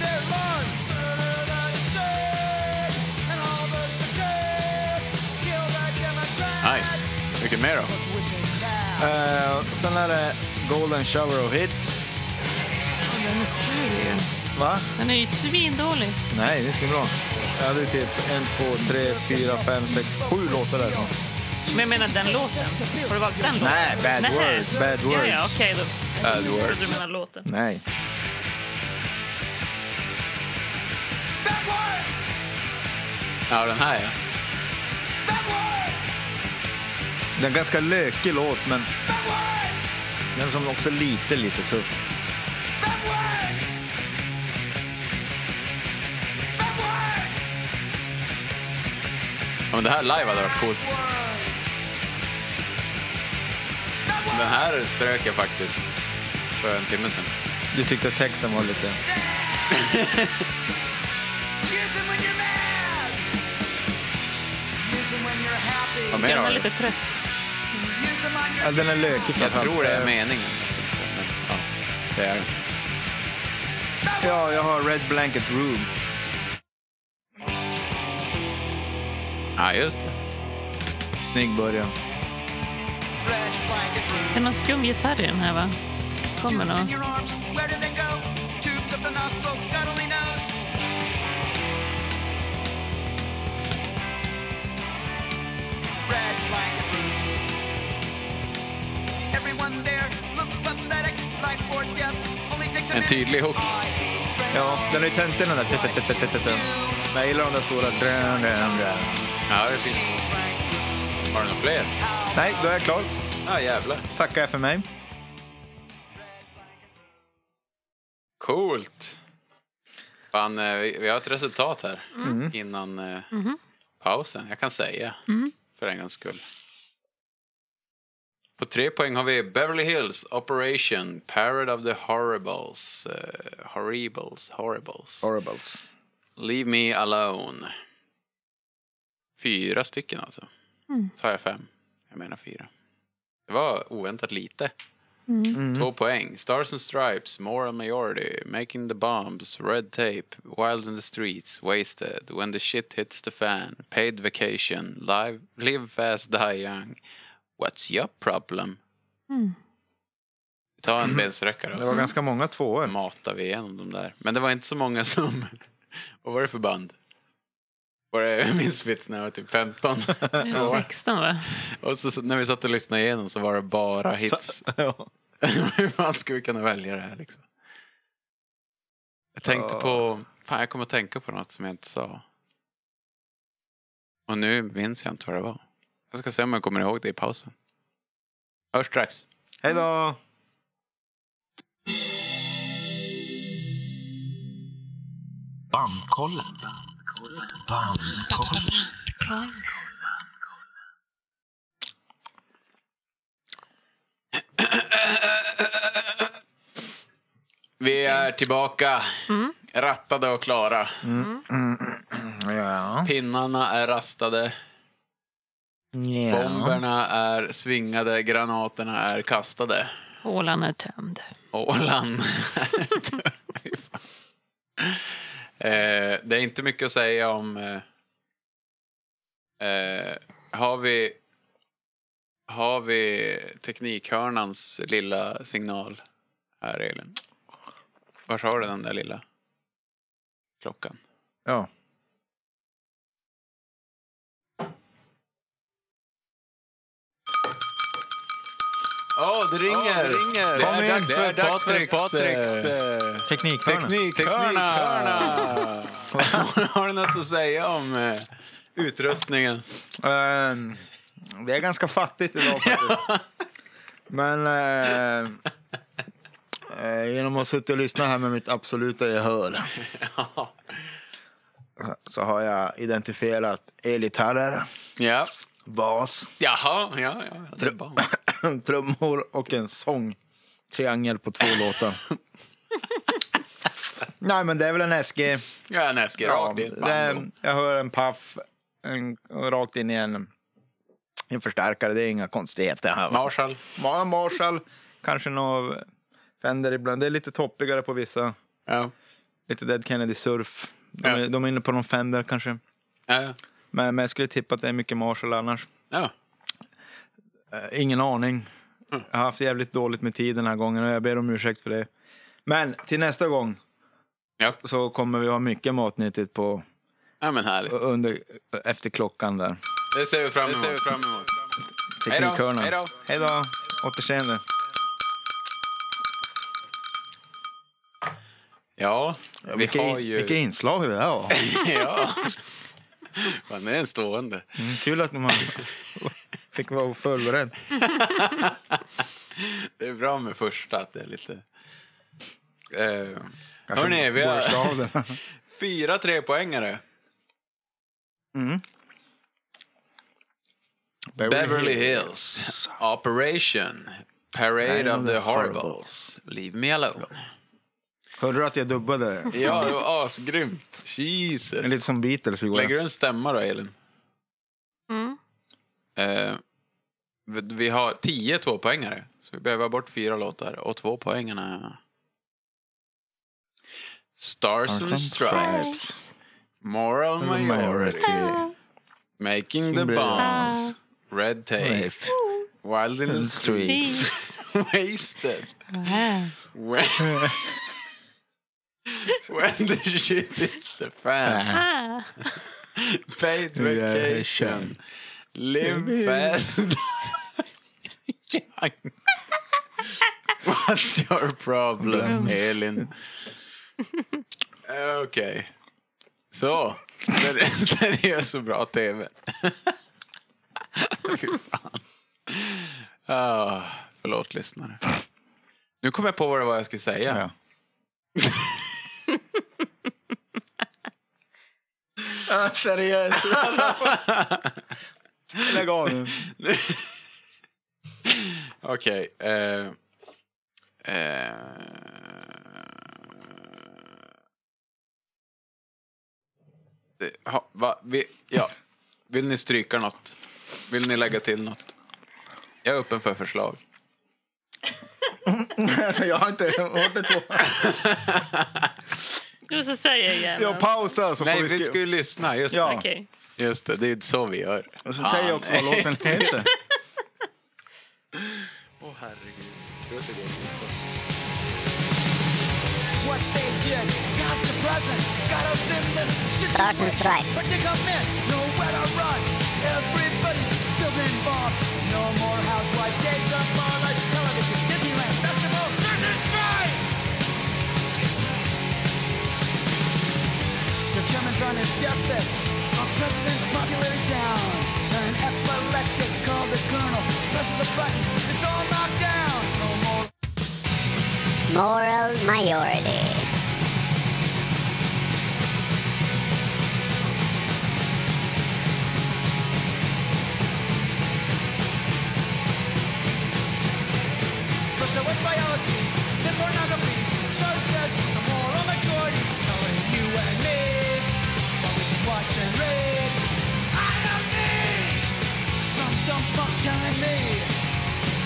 S1: Nice. Mycket mer då?
S2: Eh, och sen är det Golden Shower of Hits.
S3: Den är sur.
S2: Va?
S3: Den är ju svindålig.
S2: Nej, det är så bra. Jag hade ju typ en, två, tre, fyra, fem, sex, sju låtar där.
S3: Men jag menar den låten. Har du valt den låten?
S2: Nej, Bad
S3: Nej.
S2: Words. Bad
S3: Ja, ja,
S2: Words.
S3: okej då.
S1: Bad
S3: Jag trodde Du
S1: words.
S3: menar låten.
S2: Nej.
S1: Ja, den här ja.
S2: Det är en ganska lökig låt, men den som också är lite, lite tuff.
S1: ja men det här live hade varit coolt. Den här strök jag faktiskt för en timme sedan.
S2: Du tyckte att texten var lite...
S1: Vad mer
S3: Den
S1: har
S3: är
S1: du?
S3: lite trött.
S2: Ja, den är lökig.
S1: Jag
S2: framförallt.
S1: tror det är meningen. Men, ja, det är den.
S2: Ja, jag har Red Blanket Room.
S1: Ja, just det.
S2: Snygg början.
S3: Det är någon skum gitarr i den här, va? Kommer någon.
S1: En tydlig hook.
S2: Ja, den har ju tentorna där. Tutututututu. Men Jag gillar de där stora... Drön, drön, drön.
S1: Ja, det är fint. Har du några fler?
S2: Nej, då är jag klar.
S1: Ja, jävlar.
S2: Tackar jag för mig.
S1: Coolt. Fan, eh, vi, vi har ett resultat här innan eh, pausen. Jag kan säga, för en gångs skull. På tre poäng har vi Beverly Hills, Operation, Parade of the Horribles, eh, Horribles, Horribles,
S2: Horribles.
S1: Leave Me Alone. Fyra stycken alltså. Så har jag fem. Jag menar fyra. Det var oväntat lite. Två poäng. Stars and Stripes, Moral Majority, Making the Bombs, Red Tape, Wild in the Streets, Wasted, When the Shit Hits the Fan, Paid Vacation, Live, Live Fast Die Young. What's your problem? Vi tar en alltså. bensträckare
S2: Det var ganska många tvåor.
S1: matar vi igenom de där. Men det var inte så många som... [laughs] Vad var det för band? Var det Misfits när jag var typ 15?
S3: Det är 16, va?
S1: och så, så när vi satt och lyssnade igenom så var det bara hits. [laughs]
S2: Ja.
S1: Hur fan ska vi kunna välja det här liksom? Jag tänkte på... Fan, jag kommer att tänka på något som jag inte sa. Och nu minns jag inte vad det var. Jag ska se om jag kommer ihåg det i pausen. Hörs strax.
S2: Hej då!
S8: Bandkollen. Bandkollen.
S1: Vi är tillbaka. Rattade och klara.
S2: Ja.
S1: Pinnarna är rastade, bomberna är svingade, granaterna är kastade.
S3: Hålan är tömd.
S1: Ålan är död. Fy fan. [laughs] Eh, Det är inte mycket att säga om... eh, eh, Har vi... Har vi teknikhörnans lilla signal här, Elin? Var har du den där lilla klockan?
S2: ja.
S1: Åh, det ringer!
S2: det ringer.
S1: Det
S2: Kom
S1: är
S2: in.
S1: dags
S2: Det
S1: för
S2: är dags för
S1: Patriks,
S2: Patriks,
S1: eh,
S2: Teknikhörna.
S1: Teknikhörna! [laughs] Har du något att säga om eh, utrustningen?
S2: Ehm, det är ganska fattigt idag faktiskt. Men eh, eh, genom att sitta och lyssna här med mitt absoluta gehör så har jag identifierat elgitarrer,
S1: Ja.
S2: bas, [clears throat]
S1: Jaha, ja, ja. Det är bara...
S2: trummor och en sång. Triangel på två låtar. Nej, men det är väl en SG.
S1: Ja, en SG
S2: Ja,
S1: rakt in.
S2: det är, jag hör en paff en, och rakt in i en, en förstärkare. Det är inga konstigheter. Här, va?
S1: Marshall.
S2: Ja, Marshall, kanske någon Fender ibland. Det är lite toppigare på vissa.
S1: Ja.
S2: Lite Dead Kennedy Surf. De,
S1: Ja.
S2: är, de är inne på någon Fender kanske.
S1: Ja.
S2: Men, men jag skulle tippa att det är mycket Marshall annars.
S1: ja.
S2: Eh, ingen aning.
S1: Mm.
S2: Jag har haft jävligt dåligt med tid den här gången och jag ber om ursäkt för det. Men till nästa gång
S1: Ja.
S2: så kommer vi ha mycket matnyttigt på
S1: ja, men härligt.
S2: under, efter klockan där.
S1: Det ser vi fram emot. Hej då,
S2: Teknikhörnan.
S1: hej då.
S2: Hej då. Återseende.
S1: Ja, vi
S2: Vilka,
S1: har ju...
S2: vilka inslag det där var.
S1: [laughs] ja. Fan, det är en stående.
S2: Mm, Kul
S1: [laughs]
S2: att man fick vara förberedd.
S1: Det är bra med första, att det är lite... Eh,
S2: Kanske
S1: hörni, vi har
S2: borstar av det.
S1: fyra trepoängare. [laughs] Beverly Hills, Operation, Parade of the Horribles, Leave Me Alone.
S2: Hörde du att jag dubbade? det?
S1: Ja, det [laughs] var asgrymt.
S2: Det är lite
S1: Jesus.
S2: som Beatles igår.
S1: Lägger du en stämma då, Elin?
S3: Mm.
S1: Eh, vi- vi har tio tvåpoängare, så vi behöver ha bort fyra låtar. Och tvåpoängarna... Stars and Stripes, Moral Majority, Making the
S2: Bra.
S1: Bombs, Red Tape,
S2: Tape.
S1: Wild in the Streets,
S2: [laughs]
S1: [laughs] Wasted, When... [laughs] When the shit hits the fan.
S3: Ah.
S1: Paid vacation.
S2: Vacation.
S1: Live fast. Young. [laughs] What's your problem, Elin? Okej. Så. Seri- Seriös och bra tv. [laughs] Fy fan. Ah, förlåt, lyssnare. Nu kom jag på vad det var jag skulle säga. [laughs]
S2: Ja.
S1: Ah,
S2: Seriöst. [laughs] Lägg av
S1: [laughs]
S2: nu.
S1: Okej. eh, eh, det- ha, va, vi, ja. Vill ni stryka något? Vill ni lägga till något? Jag är öppen för förslag.
S2: Alltså, jag har inte hört det två.
S3: Du ska säga igen.
S2: Jag pausar så
S1: Nej,
S2: får
S1: vi
S2: vi skriva.
S1: ska ju lyssna. Just,
S2: Ja.
S3: Okej.
S1: det, just det, det är ju så vi gör.
S2: Och så säger jag också
S1: Ah.
S2: vad låten heter.
S6: What they did, past the present, got us in this
S8: Stars and Stripes.
S6: But they come in, nowhere to run. Everybody's building bombs. No more housewife days of more life television. Disneyland, festival, this is right! The German's on his deathbed. Our president's popularity down. An epileptic called the colonel. Presses a button, it's all knocked down. No more
S8: Moral Majority.
S6: First there was biology, then pornography. So says the moral majority, telling you and me what we can watch and read. I don't need some dumb schmuck telling me.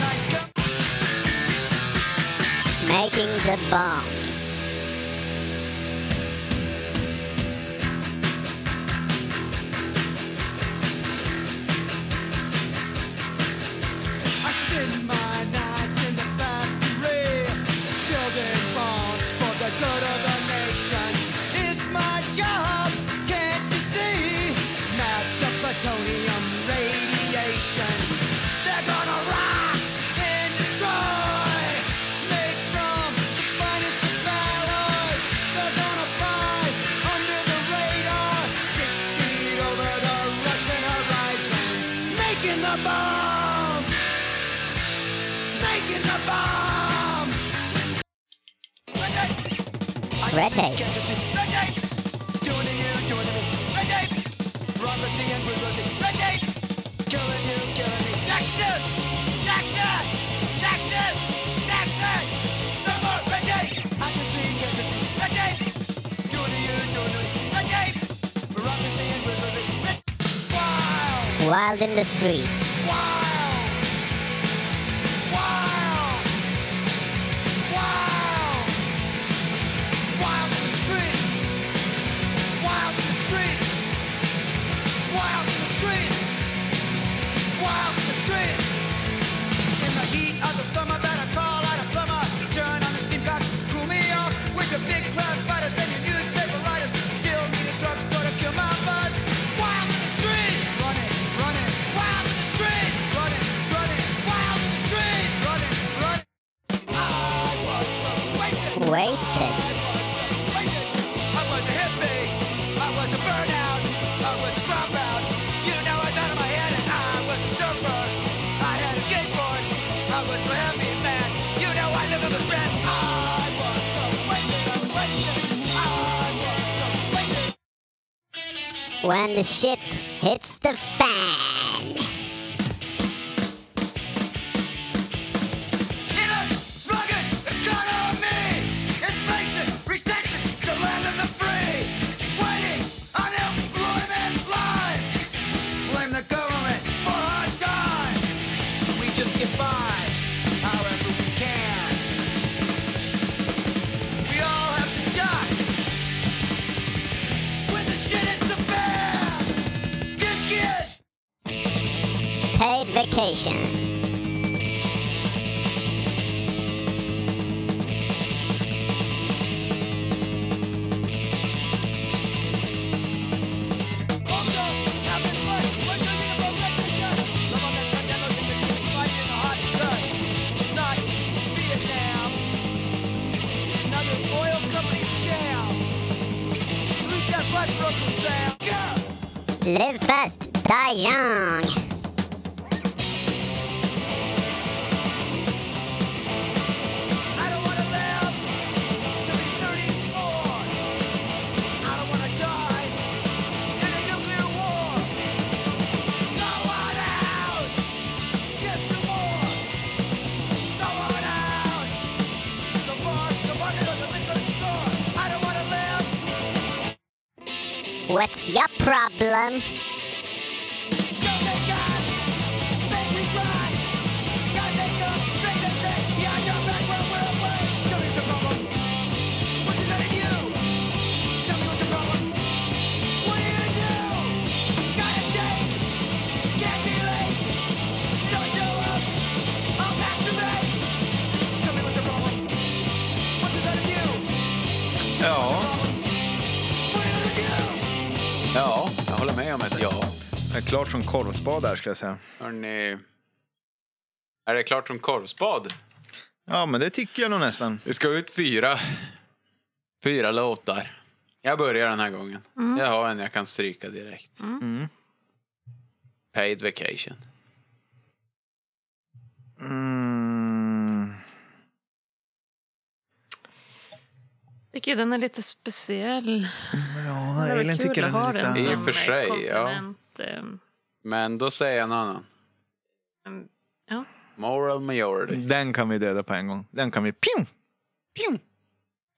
S6: Nice guy.
S8: Making the Bombs.
S6: I spend my nights in the factory, building bombs for the good of the nation. It's my job, can't you see? Mass of plutonium. bombs. Making the bombs. Red tape. I
S8: Red
S6: can see
S8: tape.
S6: Kansas City. Red tape. Doing to you, doing to me. Red tape. Prophecy and bourgeoisie. Red tape. Killing you, killing me. Nexus. Nexus. Nexus. Nexus. No more red tape. I can see Kansas City. Red tape. Doing to you, doing to me. Red tape. Prophecy and bourgeoisie. Red Wow.
S8: Wild in the streets.
S6: Wild, wild, wild, wild in the streets. Wild in the streets. Wild in the streets. Wild in the streets. In the heat of the summer, better call out a plumber. Turn on the steam cock, cool me off with your big crowd fighters and your newspaper writers. Still need a drugstore to kill my buzz. Wild in the street, running, running. Wild in the street, running, running. Wild in the street, running, running. I was wasted.
S8: Wasted.
S6: I was a hippie. I was a burnout. I was a dropout. You know I was out of my head and I was a surfer. I had a skateboard. I was a happy man. You know I lived on the strand. I was so wasted. I'm wasted. I was so wasted.
S8: When the shit hits the fan.
S6: In a sluggish economy, inflation, recession, the land of the free, waiting on employment lines. Blame the government for hard times. We just get by however we can. We all have to die. When the shit hits the fan, just get.
S8: Paid vacation. Live fast, die young. What's your problem?
S2: Ja,
S1: eh, Ja, jag håller med om ett ja.
S2: det är klart som korvspad där ska jag säga.
S1: Hörrni, är det klart som korvspad?
S2: Ja, men det tycker jag nog nästan.
S1: Det ska ut fyra, fyra låtar. Jag börjar den här gången. Jag har en jag kan stryka direkt. Paid Vacation.
S2: Mm.
S3: Tycker den är lite speciell.
S2: Ja,
S3: Det är väl
S2: Elin
S3: kul
S2: tycker
S3: att
S2: den
S3: ha
S2: är
S3: den
S2: lite...
S1: I
S3: som
S1: och för sig, ja.
S3: komplement, ehm,
S1: Men då säger jag en annan.
S3: ehm, Ja.
S1: Moral Majority.
S2: Den kan vi döda på en gång. Den kan vi... Pjum! Pjum!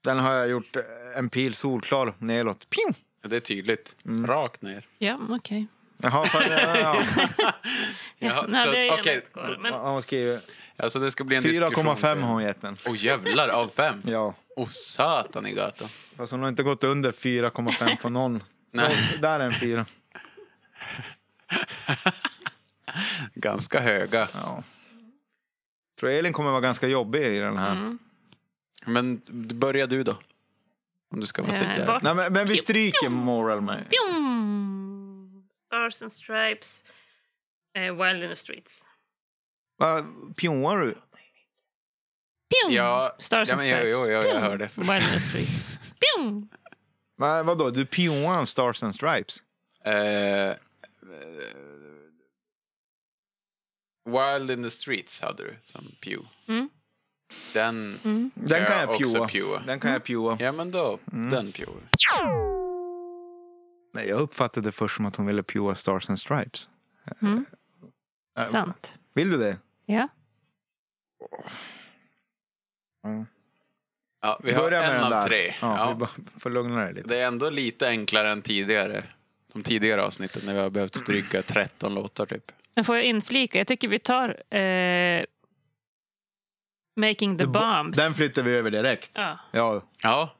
S2: Den har jag gjort eh, en pil solklar nedåt. Pjum!
S1: Det är tydligt. Rakt ner.
S3: Ja, okej.
S2: Jaha, för, ja, ja, ja.
S1: Ja,
S3: Nej,
S1: så-
S3: det är
S1: okej,
S3: okay, kvar,
S1: så-
S3: men
S2: [laughs] Hon skriver
S1: Alltså det ska bli en diskussion.
S2: 4,5
S1: säger
S2: har
S1: jag.
S2: hon gett den.
S1: Åh jävlar, av fem?
S2: Ja,
S1: Åh satan i gatan.
S2: fast hon har inte gått under 4,5 på [laughs] någon.
S1: Nej,
S2: Där är en fyra.
S1: ganska höga.
S2: Ja. Tror Elin kommer vara ganska jobbig i den här.
S1: Men börja du då. Om du ska vara
S3: Eh,
S1: så jävla-
S3: vart-
S2: Nej, men, men vi stryker Moral med.
S3: Pjom! Stars and Stripes, eh, Wild in the Streets.
S2: Vad pjoar du?
S3: Pjom!
S1: Ja,
S3: Stars
S1: ja,
S3: and
S1: men jo,
S3: Stripes.
S1: jo, jo, jag
S3: Pjom!
S1: hörde först.
S3: Wild in the Streets.
S1: [laughs]
S3: Pjom!
S2: Va, vadå, du pjoar en Stars and Stripes?
S1: Eh, eh, Wild in the Streets hade du som pew. Den
S2: Den kan jag
S1: också
S2: pjua.
S1: pjua.
S2: Den kan jag pjua.
S1: Ja, men då.
S2: Mm.
S1: Den pjua.
S2: Nej, jag uppfattade det först som att hon ville pjua Stars and Stripes. Eh,
S3: Sant.
S2: Vill du det?
S3: Ja.
S1: Ja, vi har
S2: Börja med
S1: en
S2: den
S1: av
S2: där.
S1: tre.
S2: Ja,
S1: Ja.
S2: Vi bara får lugna dig lite.
S1: Det är ändå lite enklare än tidigare. De tidigare avsnitten när vi har behövt stryka 13 låtar typ.
S3: Men får jag inflika? Jag tycker vi tar eh, Making the Bombs.
S2: Den flyttar vi över direkt.
S3: ja.
S2: Ja,
S1: Ja.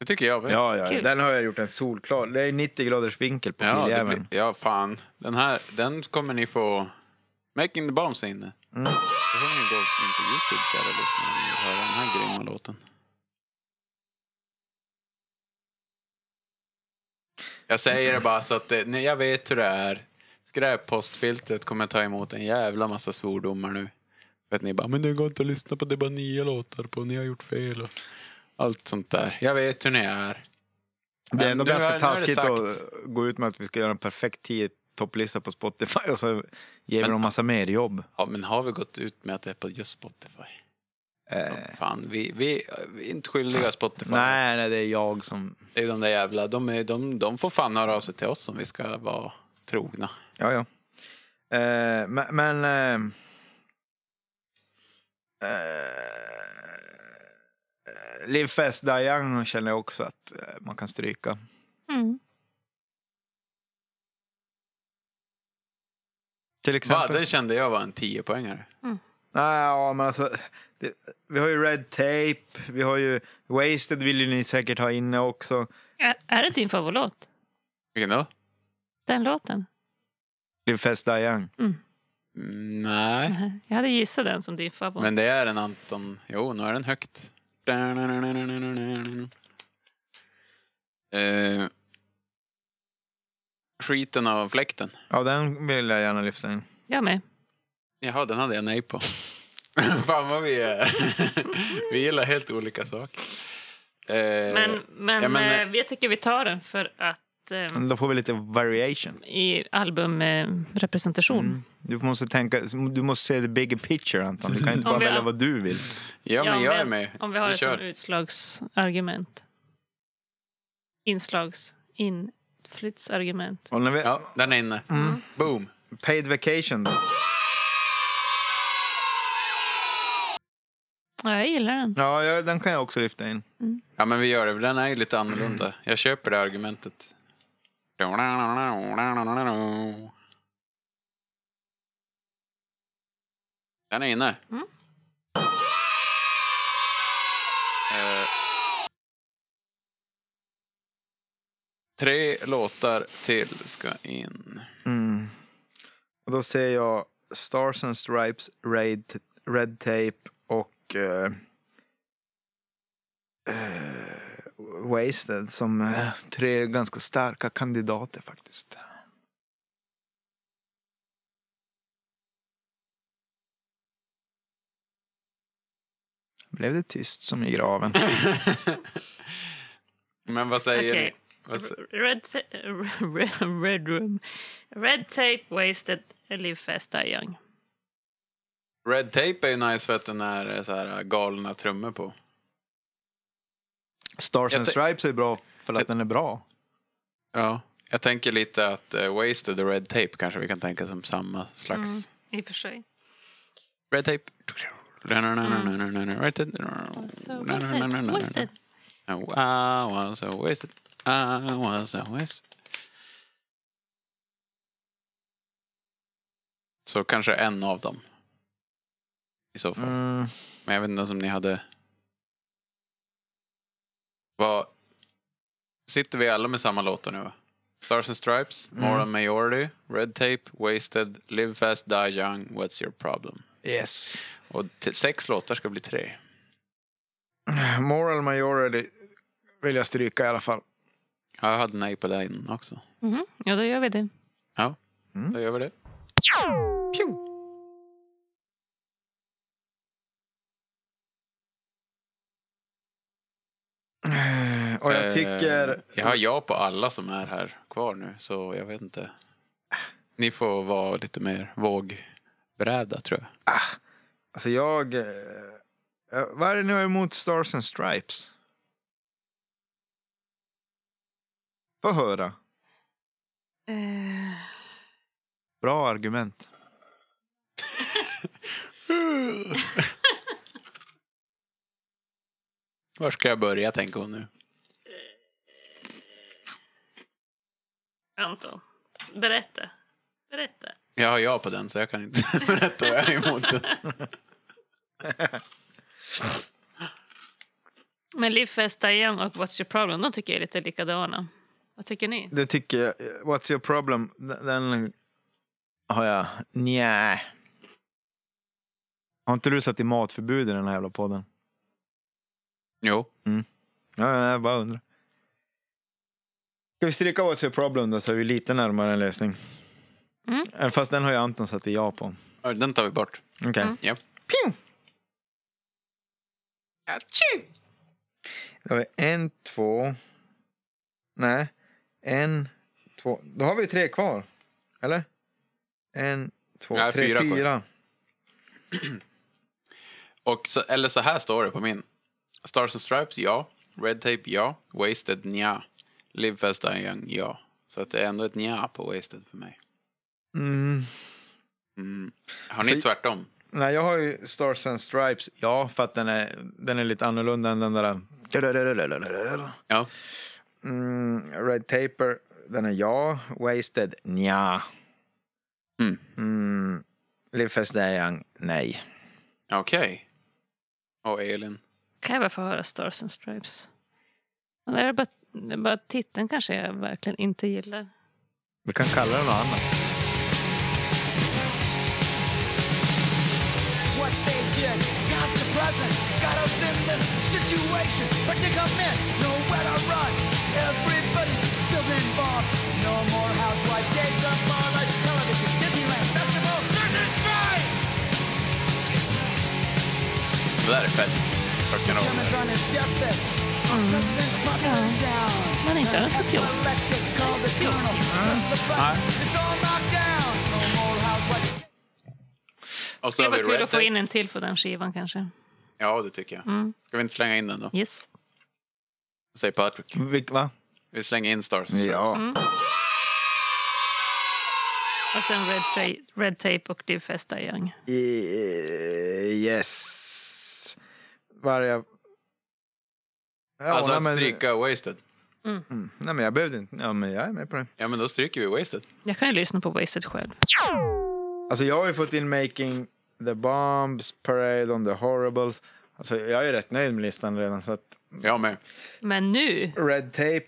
S1: Det tycker jag med.
S2: ja, ja.
S3: Kul.
S2: den har jag gjort en solklar. Det är 90 graders vinkel på
S1: Ja, det
S2: killjäveln.
S1: blir, ja, fan. Den här den kommer ni få... Making the Bombs är inne.
S2: Mm.
S1: Då får ni gå in på Youtube, kära lyssnare, och höra den här grymma låten. Jag säger det bara så att det, nej, jag vet hur det är. Skräppostfiltret kommer ta emot en jävla massa svordomar nu. För att ni bara, men det går inte att lyssna på, det är bara nio låtar på, ni har gjort fel och allt sånt där. Jag vet hur ni är.
S2: Det är ändå
S1: Men nu
S2: ganska
S1: har- nu har det
S2: taskigt
S1: sagt.
S2: att gå ut med att vi ska göra en perfekt 10 topplista på Spotify [laughs] och så ger vi
S1: Men-
S2: dem massa mer jobb.
S1: Ja, men har vi gått ut med att det är på just Spotify?
S2: Eh,
S1: Ja, Eh, fan, vi, vi, vi är inte skyldiga Spotify.
S2: Nej, nej, det är jag som...
S1: Det är de där jävla, de, är, de, de får fan höra av sig till oss om vi ska vara trogna.
S2: Ja, ja. Eh, men... men eh, eh, Live Fast Die Young känner jag också att eh, man kan stryka.
S3: Mm.
S2: Till
S1: Va,
S2: exempel.
S1: det kände jag var en 10-poängare.
S2: Nej, ja, men alltså, det, vi har ju Red Tape, vi har ju Wasted vill ju ni säkert ha inne också.
S3: Är, är det din favoritlåt?
S1: Vilken då?
S3: Den låten?
S2: Live Fast Die Young.
S1: Mm, nej,
S3: Nej, Jag hade gissat den som din favorit.
S1: men det är en Anton. Jo, nu är den högt. Eh, skiten av fläkten.
S2: Ja, den vill jag gärna lyfta in.
S3: Jag
S1: eh,
S3: med.
S1: Jaha, den hade jag nej på. [laughs] Fan vad vi är. [laughs] vi gillar helt olika saker. Eh,
S3: Men, men,
S1: ja, men,
S3: eh, jag tycker vi tar den för att eh,
S2: Men Då får vi lite variation.
S3: i albumrepresentation.
S2: Du måste tänka, du måste se the bigger picture Anton. Du kan inte bara
S3: Om vi-
S2: välja vad du vill.
S1: ja, men jag är
S3: men
S1: med.
S3: Om vi har det som
S1: kör.
S3: utslagsargument. Inslags... Inflyttsargument.
S2: Och när vi,
S1: Ja, den är inne. Boom.
S2: Paid vacation då.
S3: Ja, jag gillar den.
S2: Ja, jag, den kan jag också lyfta in.
S1: Ja, men vi gör det. Den är ju lite annorlunda. Jag köper det argumentet. Den är inne.
S3: Mm.
S1: Eh, tre låtar till ska in. [laughs]
S2: Och då ser jag Stars and Stripes, Red, Red Tape och eh, eh, Wasted som eh, tre ganska starka kandidater faktiskt. Blev det tyst som i graven?
S1: Men vad säger
S3: Okej.
S1: ni? Vad s-
S3: Red, ta- [laughs] red Room. Red Tape, Wasted, Live Fast, Die Young.
S1: Red Tape är ju nice för att den är eh, så här galna trummor på.
S2: Stars
S1: Jag
S2: and
S1: tän-
S2: Stripes är bra för att den är bra.
S1: Ja. Jag tänker lite att eh, Wasted och Red Tape kanske vi kan tänka som samma slags.
S3: Mm, I och för sig.
S1: Red Tape. Red Tape.
S3: So, wasted. wasted.
S1: Oh, I was so wasted. I was so wasted. Så kanske en av dem. I så fall.
S2: Mm.
S1: Men jag vet inte ens om ni hade... Vad... Sitter vi alla med samma låtar nu? va? Stars and Stripes,
S2: Mm.
S1: Moral Majority, Red Tape, Wasted, Live Fast, Die Young, What's Your Problem?
S2: Yes.
S1: Och t- sex låtar ska bli tre.
S2: Moral Majority vill jag stryka i alla fall.
S1: Ja, jag hade nej på det innan också.
S3: Mhm. Ja, då gör vi det.
S1: Ja,
S2: Mm.
S1: då gör vi det.
S2: Och jag
S1: Eh,
S2: tycker...
S1: jag har ja på alla som är här kvar nu, så jag vet inte. Ni får vara lite mer våg... bräda tror jag.
S2: Alltså jag... eh, eh, Vad är det nu jag är emot Stars and Stripes? Få höra.
S3: Eh,
S2: Bra argument.
S1: Var ska jag börja tänker hon nu?
S3: Anton, berätta. Berätta.
S1: Jag har ja på den så jag kan inte [laughs] berätta vad jag är emot den.
S3: Men Liv Fest Diane och What's Your Problem, de tycker jag är lite likadana. Vad tycker ni?
S2: Det tycker jag. eh, What's your problem? Den- Den har jag. Nja. Har inte du satt i matförbud i den här jävla podden?
S1: Jo.
S2: Ja, jag bara undrar. Ska vi stryka What's your problem då så är vi lite närmare en lösning?
S3: Mm.
S2: Eh, Fast den har ju Anton satt i ja på.
S1: Ja, Den tar vi bort.
S2: Okej.
S3: Mm.
S1: Ja.
S2: Då har vi en, två... Nej. En, två... Då har vi tre kvar. Eller? En, två,
S1: Nej,
S2: tre,
S1: fyra
S2: fyra.
S1: kvar. Och så, eller så här står det på min. Stars and Stripes, ja. Red Tape, ja. Wasted, nja. Live Fast Die Young, ja. Så att det är ändå ett nja på Wasted för mig.
S2: Mm.
S1: Mm. Har ni
S2: Så-
S1: tvärtom?
S2: Nej, jag har ju Stars and Stripes. Ja, för att den är, den är lite annorlunda än den där...
S1: Ja.
S2: Mm, Red Taper, den är ja. Wasted, nja.
S1: Mm.
S2: Mm. Live Fast Die Young, nej.
S1: Okej. Och Elin?
S3: Kan jag bara få höra Stars and Stripes? Men det är bara, det är bara titeln kanske jag verkligen inte gillar.
S2: Vi kan kalla den något annat.
S6: what they did. Past the present got us in this situation. But they come in, nowhere to run. Everybody's building bombs. No more housewife days of our lives. Television, Disneyland, festival. This is right.
S1: Det där är fett. Rock'n'roll.
S6: Truman's on his deathbed. President's mother down.
S3: Men inte alls så kul.
S6: Elected, called the colonel. Press the button. It's all knocked down. No more housewife.
S1: Och så
S3: Det
S1: har vi
S3: var kul
S1: Red
S3: att få
S1: Tape.
S3: in Mm. en till på den skivan kanske.
S1: Ja, det tycker jag. Ska vi inte slänga in den då?
S3: Yes.
S1: Säger Patrick.
S2: Vil- Va?
S1: Vi slänger in Stars and Stripes.
S2: Ja.
S3: Och sen Red, ta- Red Tape och Live Fast Die Young.
S2: Eh, Yes. Varje... Ja,
S1: Alltså
S2: nej,
S1: att
S2: men-
S1: stryka Wasted.
S2: Mm, Nej, men jag behövde inte. Ja, men jag är med på det.
S1: Ja, men då stryker vi Wasted.
S3: Jag kan ju lyssna på Wasted själv.
S2: Alltså, jag har ju fått in Making the Bombs, Parade on the Horribles. Alltså, jag är rätt nöjd med listan redan. Så att
S1: Jag med.
S3: Men nu,
S2: Red Tape,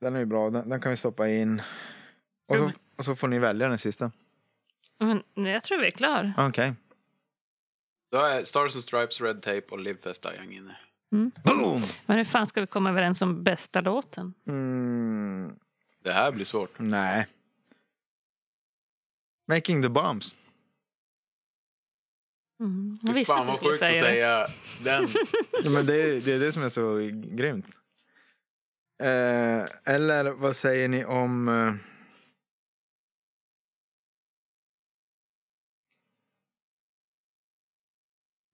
S2: den är ju bra. Den, den kan vi stoppa in. Och så, och så får ni välja den sista.
S3: men, nej, jag tror vi är klar.
S2: Okej.
S1: Då är Stars and Stripes, Red Tape och Live Fast Die Young inne.
S2: Boom!
S3: Men hur fan ska vi komma överens om bästa låten?
S2: Mm,
S1: Det här blir svårt.
S2: nej. Making the Bombs.
S3: Mm. Jag
S1: Fy
S3: visste
S1: fan
S3: att du
S1: vad
S3: skulle
S1: sjukt att
S3: säga det.
S1: säga
S3: [laughs]
S1: den.
S2: Ja, men det, är, det är det som är så grymt. Eh, eller vad säger ni om... eh,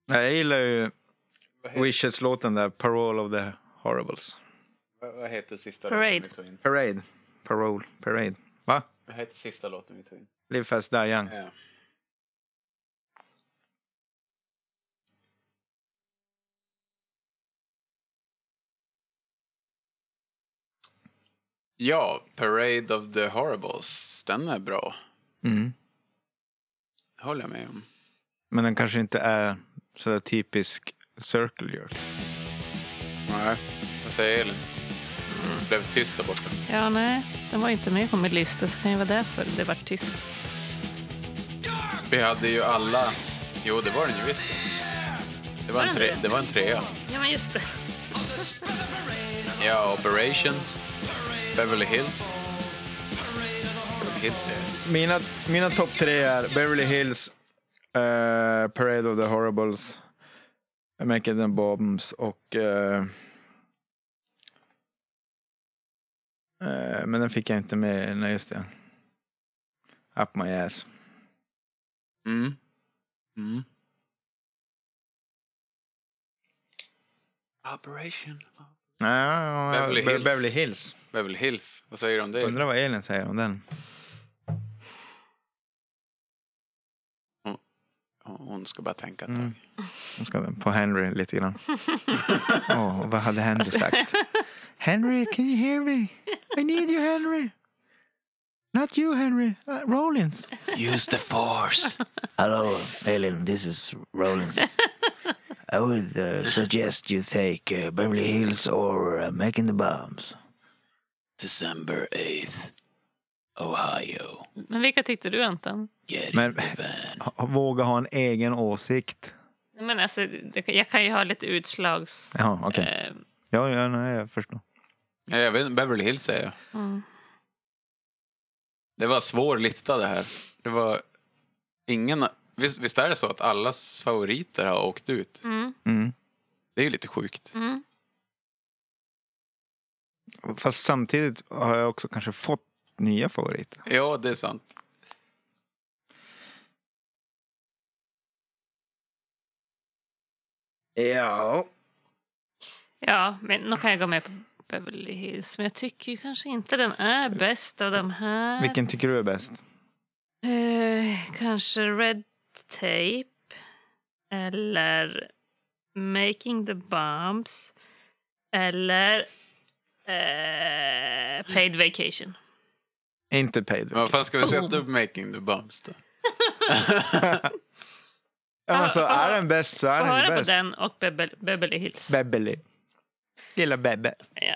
S2: Nej, jag gillar ju
S1: Vad heter-
S2: Wishes-låten där, Parole of the Horribles.
S1: Vad vad heter sista
S3: Parade.
S1: låten vi tog in?
S2: Parade. Parole. Parade. Va?
S1: Vad heter sista låten vi tog in?
S2: Live fast, die young.
S1: Ja. Ja, Parade of the Horribles. Den är bra.
S2: Mm.
S1: Det håller jag med om.
S2: Men den kanske inte är sådär typisk Circle Jerk.
S1: Nej. Mm. Vad säger Elin? Blev tyst där borta.
S3: Ja, nej. Den var inte med på min lista, så kan ju vara därför det var tyst.
S1: Vi hade ju alla... Jo, det var den ju visst. Det var en, tre... det var en trea.
S3: Ja, men just det.
S1: Ja, Operation. Beverly Hills. Beverly Hills är det.
S2: Mina, mina topp tre är Beverly Hills, eh, Parade of the Horribles, Making the Bombs och... eh, eh, men den fick jag inte med. Nej, just det. Up my ass.
S1: Mm. Mm. Operation.
S2: Nej, ja, ja,
S1: Beverly
S2: Be-
S1: Hills.
S2: Beverly Hills.
S1: Beverly Hills. Vad säger du om det?
S2: Undrar vad Elin säger om den.
S1: Hon ska bara tänka ett
S2: Mm.
S1: tag.
S2: Hon ska på Henry lite [laughs] grann. Åh, vad hade Henry sagt? Henry, can you hear me? I need you, Henry. Not you, Henry. Uh, Rollins.
S1: Use the force.
S5: [laughs] Hello, Helen. This is Rollins. I would uh, suggest you take uh, Beverly Hills or uh, Making the Bombs.
S1: December 8th. Ohio.
S3: Men vilka tyckte du, Anton?
S1: Get
S2: Men-
S1: van.
S2: Ha- Våga ha en egen åsikt.
S3: Nej, Men alltså, det, jag kan ju ha lite utslags...
S2: Ja, okej.
S3: Eh,
S2: Ja, ja, nej, jag förstår.
S1: Ja, jag vet inte, Beverly Hills säger jag.
S3: Mm.
S1: Det var svår lista det här. Det var ingen... Visst, visst är det så att allas favoriter har åkt ut?
S3: mm,
S2: Mm.
S1: Det är ju lite sjukt.
S3: mm.
S2: Fast samtidigt har jag också kanske fått nya favoriter.
S1: Ja, det är sant.
S5: Ja.
S3: Ja, men då kan jag gå med på Beverly Hills. Men jag tycker ju kanske inte den är bäst av de här.
S2: Vilken tycker du är bäst?
S3: Eh, kanske Red Tape. Eller Making the Bombs. Eller eh, Paid Vacation.
S2: Inte Pedro.
S1: Men vad fan ska vi sätta upp Making the Bombs då?
S2: Ja, men alltså, är den bäst så
S3: Få
S2: är den ju
S3: höra på
S2: bäst.
S3: den och Bebe- Beverly Hills.
S2: Beverly. Lilla Bebbe. [laughs]
S3: ja.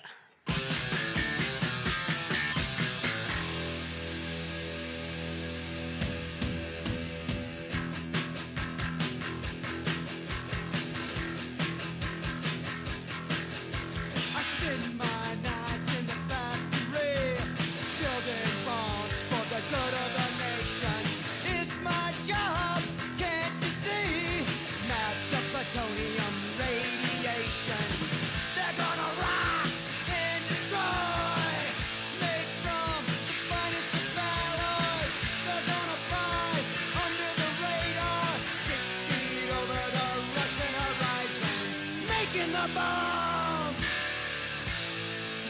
S6: I spend my nights in the factory, building bombs for the good of the nation. It's my job, can't you see? Mass of plutonium radiation. They're gonna rock and destroy, make from the finest of alloys. They're gonna fly under the radar, six feet over the Russian horizon, making the bomb.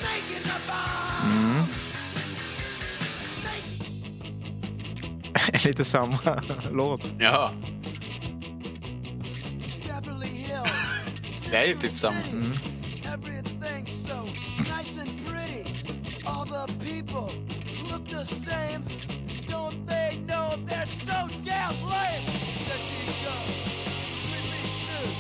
S6: Making the bomb. Making
S2: Lite samma [laughs] låt.
S1: Ja,
S6: Beverly Hills.
S1: [laughs] Det är ju typ Mm. samma.
S6: City, Everything so nice and pretty. All the people look the same. Don't they know they're so damn lame? There she goes. Whitney Sue.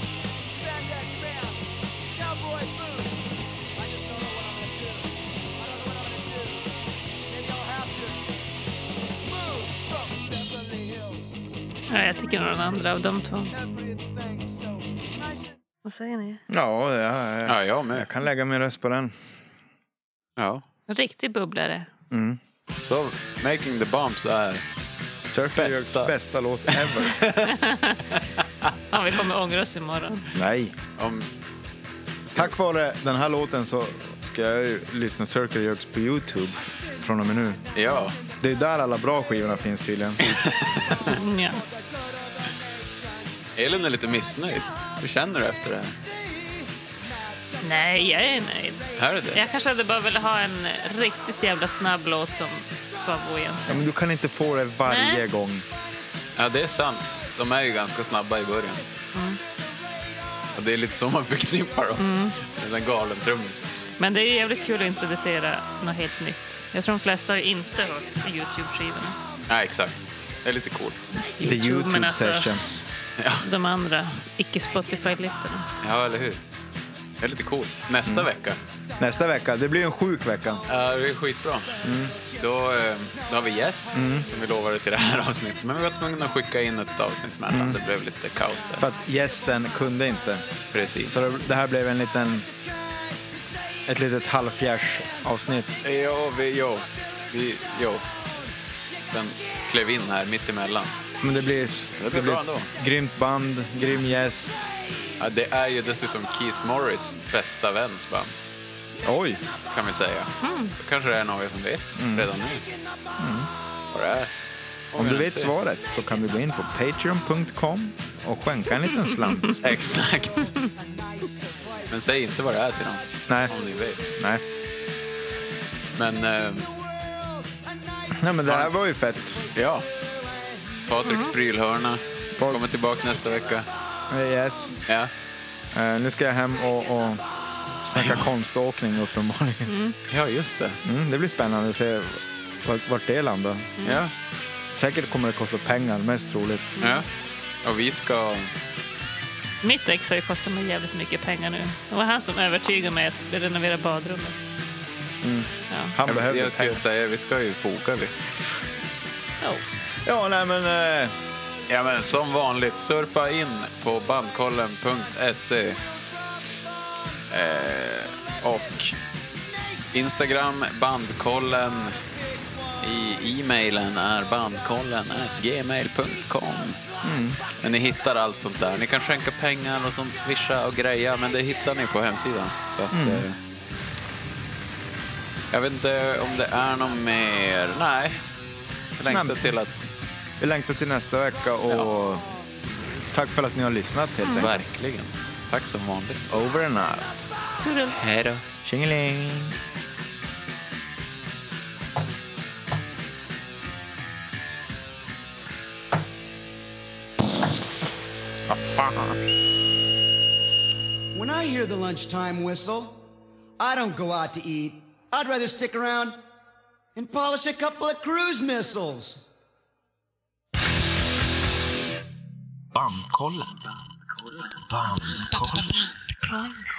S6: Spandex pants. Cowboy boots. I just don't know what I'm gonna do. I don't know what I'm gonna do. Maybe I'll have to move from Beverly Hills.
S3: ja, jag tycker någon andra av de två.
S6: Everything so nice and
S3: Vad säger ni?
S2: Ja, ja, ja.
S1: ja jag
S2: jag
S1: med.
S2: kan lägga min röst på den.
S1: Ja.
S3: En riktig bubblare.
S1: Så Making the Bombs är...
S2: Turkey
S1: Bästa.
S2: Jerks bästa låt
S1: [laughs]
S2: ever.
S3: Ja, vi kommer ångra oss imorgon.
S2: Nej.
S1: Om,
S2: Tack vare den här låten så ska jag ju lyssna Circle Jerks på Youtube från och med nu.
S1: ja,
S2: Det är där alla bra skivorna finns tydligen.
S3: Mm, ja.
S1: Elin är lite missnöjd. Hur känner du efter det här?
S3: Nej, jag är nöjd.
S1: Här är det.
S3: Jag kanske hade bara velat ha en riktigt jävla snabb låt som favorit.
S2: Ja, men du kan inte få det varje
S3: Nej.
S2: gång.
S1: Ja, det är sant. De är ju ganska snabba i början. Och det är lite så man förknippar dem. Med en galen trummis.
S3: Men det är ju jävligt kul att introducera något helt nytt. Jag tror de flesta har ju inte hört Youtube-skivorna.
S1: Nej, exakt. Det är lite coolt.
S2: The
S3: men
S2: Youtube
S3: alltså
S2: sessions.
S3: de andra icke-Spotify-listorna.
S1: Ja, eller hur? Det är lite coolt. Nästa vecka.
S2: Nästa vecka. Det blir en sjuk vecka.
S1: Ja, det är skitbra. Då, eh, då har vi gäst, som vi lovade till det här avsnittet. Men vi var tvungna att skicka in ett avsnitt mellan. Det blev lite kaos
S2: För
S1: där.
S2: att gästen kunde inte.
S1: Precis.
S2: Så det- det här blev en liten... Ett litet halvfjärs avsnitt.
S1: Ja, vi, jo. Vi, jo. Den klev in här mittemellan.
S2: Men det blir,
S1: blir bra
S2: det blir
S1: ändå.
S2: ett grymt band, grym gäst.
S1: Ja, det är ju dessutom Keith Morris bästa väns band,
S2: Oj!
S1: Mm. kan vi säga. Då kanske det är [laughs] någon av er som vet redan nu. Vad det är.
S2: Om du vet svaret så kan du gå in på patreon.com och skänka en liten [laughs] slant.
S1: Exakt. Men säg inte vad det är till någon.
S2: Nej,
S1: Om ni vet.
S2: nej.
S1: Men eh,
S2: Nej, men det här var ju fett.
S1: ja. Patriks prylhörna
S2: Folk-
S1: kommer tillbaka nästa vecka.
S2: Eh, Yes.
S1: Ja.
S2: Eh, nu ska jag hem och, och snacka konståkning uppenbarligen.
S1: ja, just det.
S2: Mm, det blir spännande att se vart, vart det landar.
S1: Ja.
S2: Säkert kommer det kosta pengar, mest troligt.
S1: ja. Och vi ska...
S3: Mitt ex har ju kostat mig jävligt mycket pengar nu. Det var han som övertygade mig att renovera badrummet.
S2: Mm.
S3: Ja.
S2: Han
S1: Jag,
S2: behövde
S1: jag skulle
S2: pengar.
S1: säga, vi ska ju foga vi.
S3: Oh.
S2: Ja, nej men... eh,
S1: Ja, men som vanligt, surfa in på bandkollen.se. Eh, och Instagram bandkollen. I e-mailen är bandkollen gmail.com. Men ni hittar allt sånt där. Ni kan skänka pengar och sånt, swisha och greja, men det hittar ni på hemsidan. Så att, eh, jag vet inte om det är något mer. Nej, jag längtar
S2: Nej.
S1: till att
S2: vi längtar till nästa vecka och... Tack för att ni har lyssnat helt enkelt.
S1: Verkligen. Tack som vanligt.
S2: Over and out.
S3: Toodles.
S1: Hej då.
S2: Tjingeling!
S6: When I hear the lunchtime whistle, I don't go out to eat. I'd rather stick around and polish a couple of cruise missiles.
S4: Bandkollen. Bandkollen.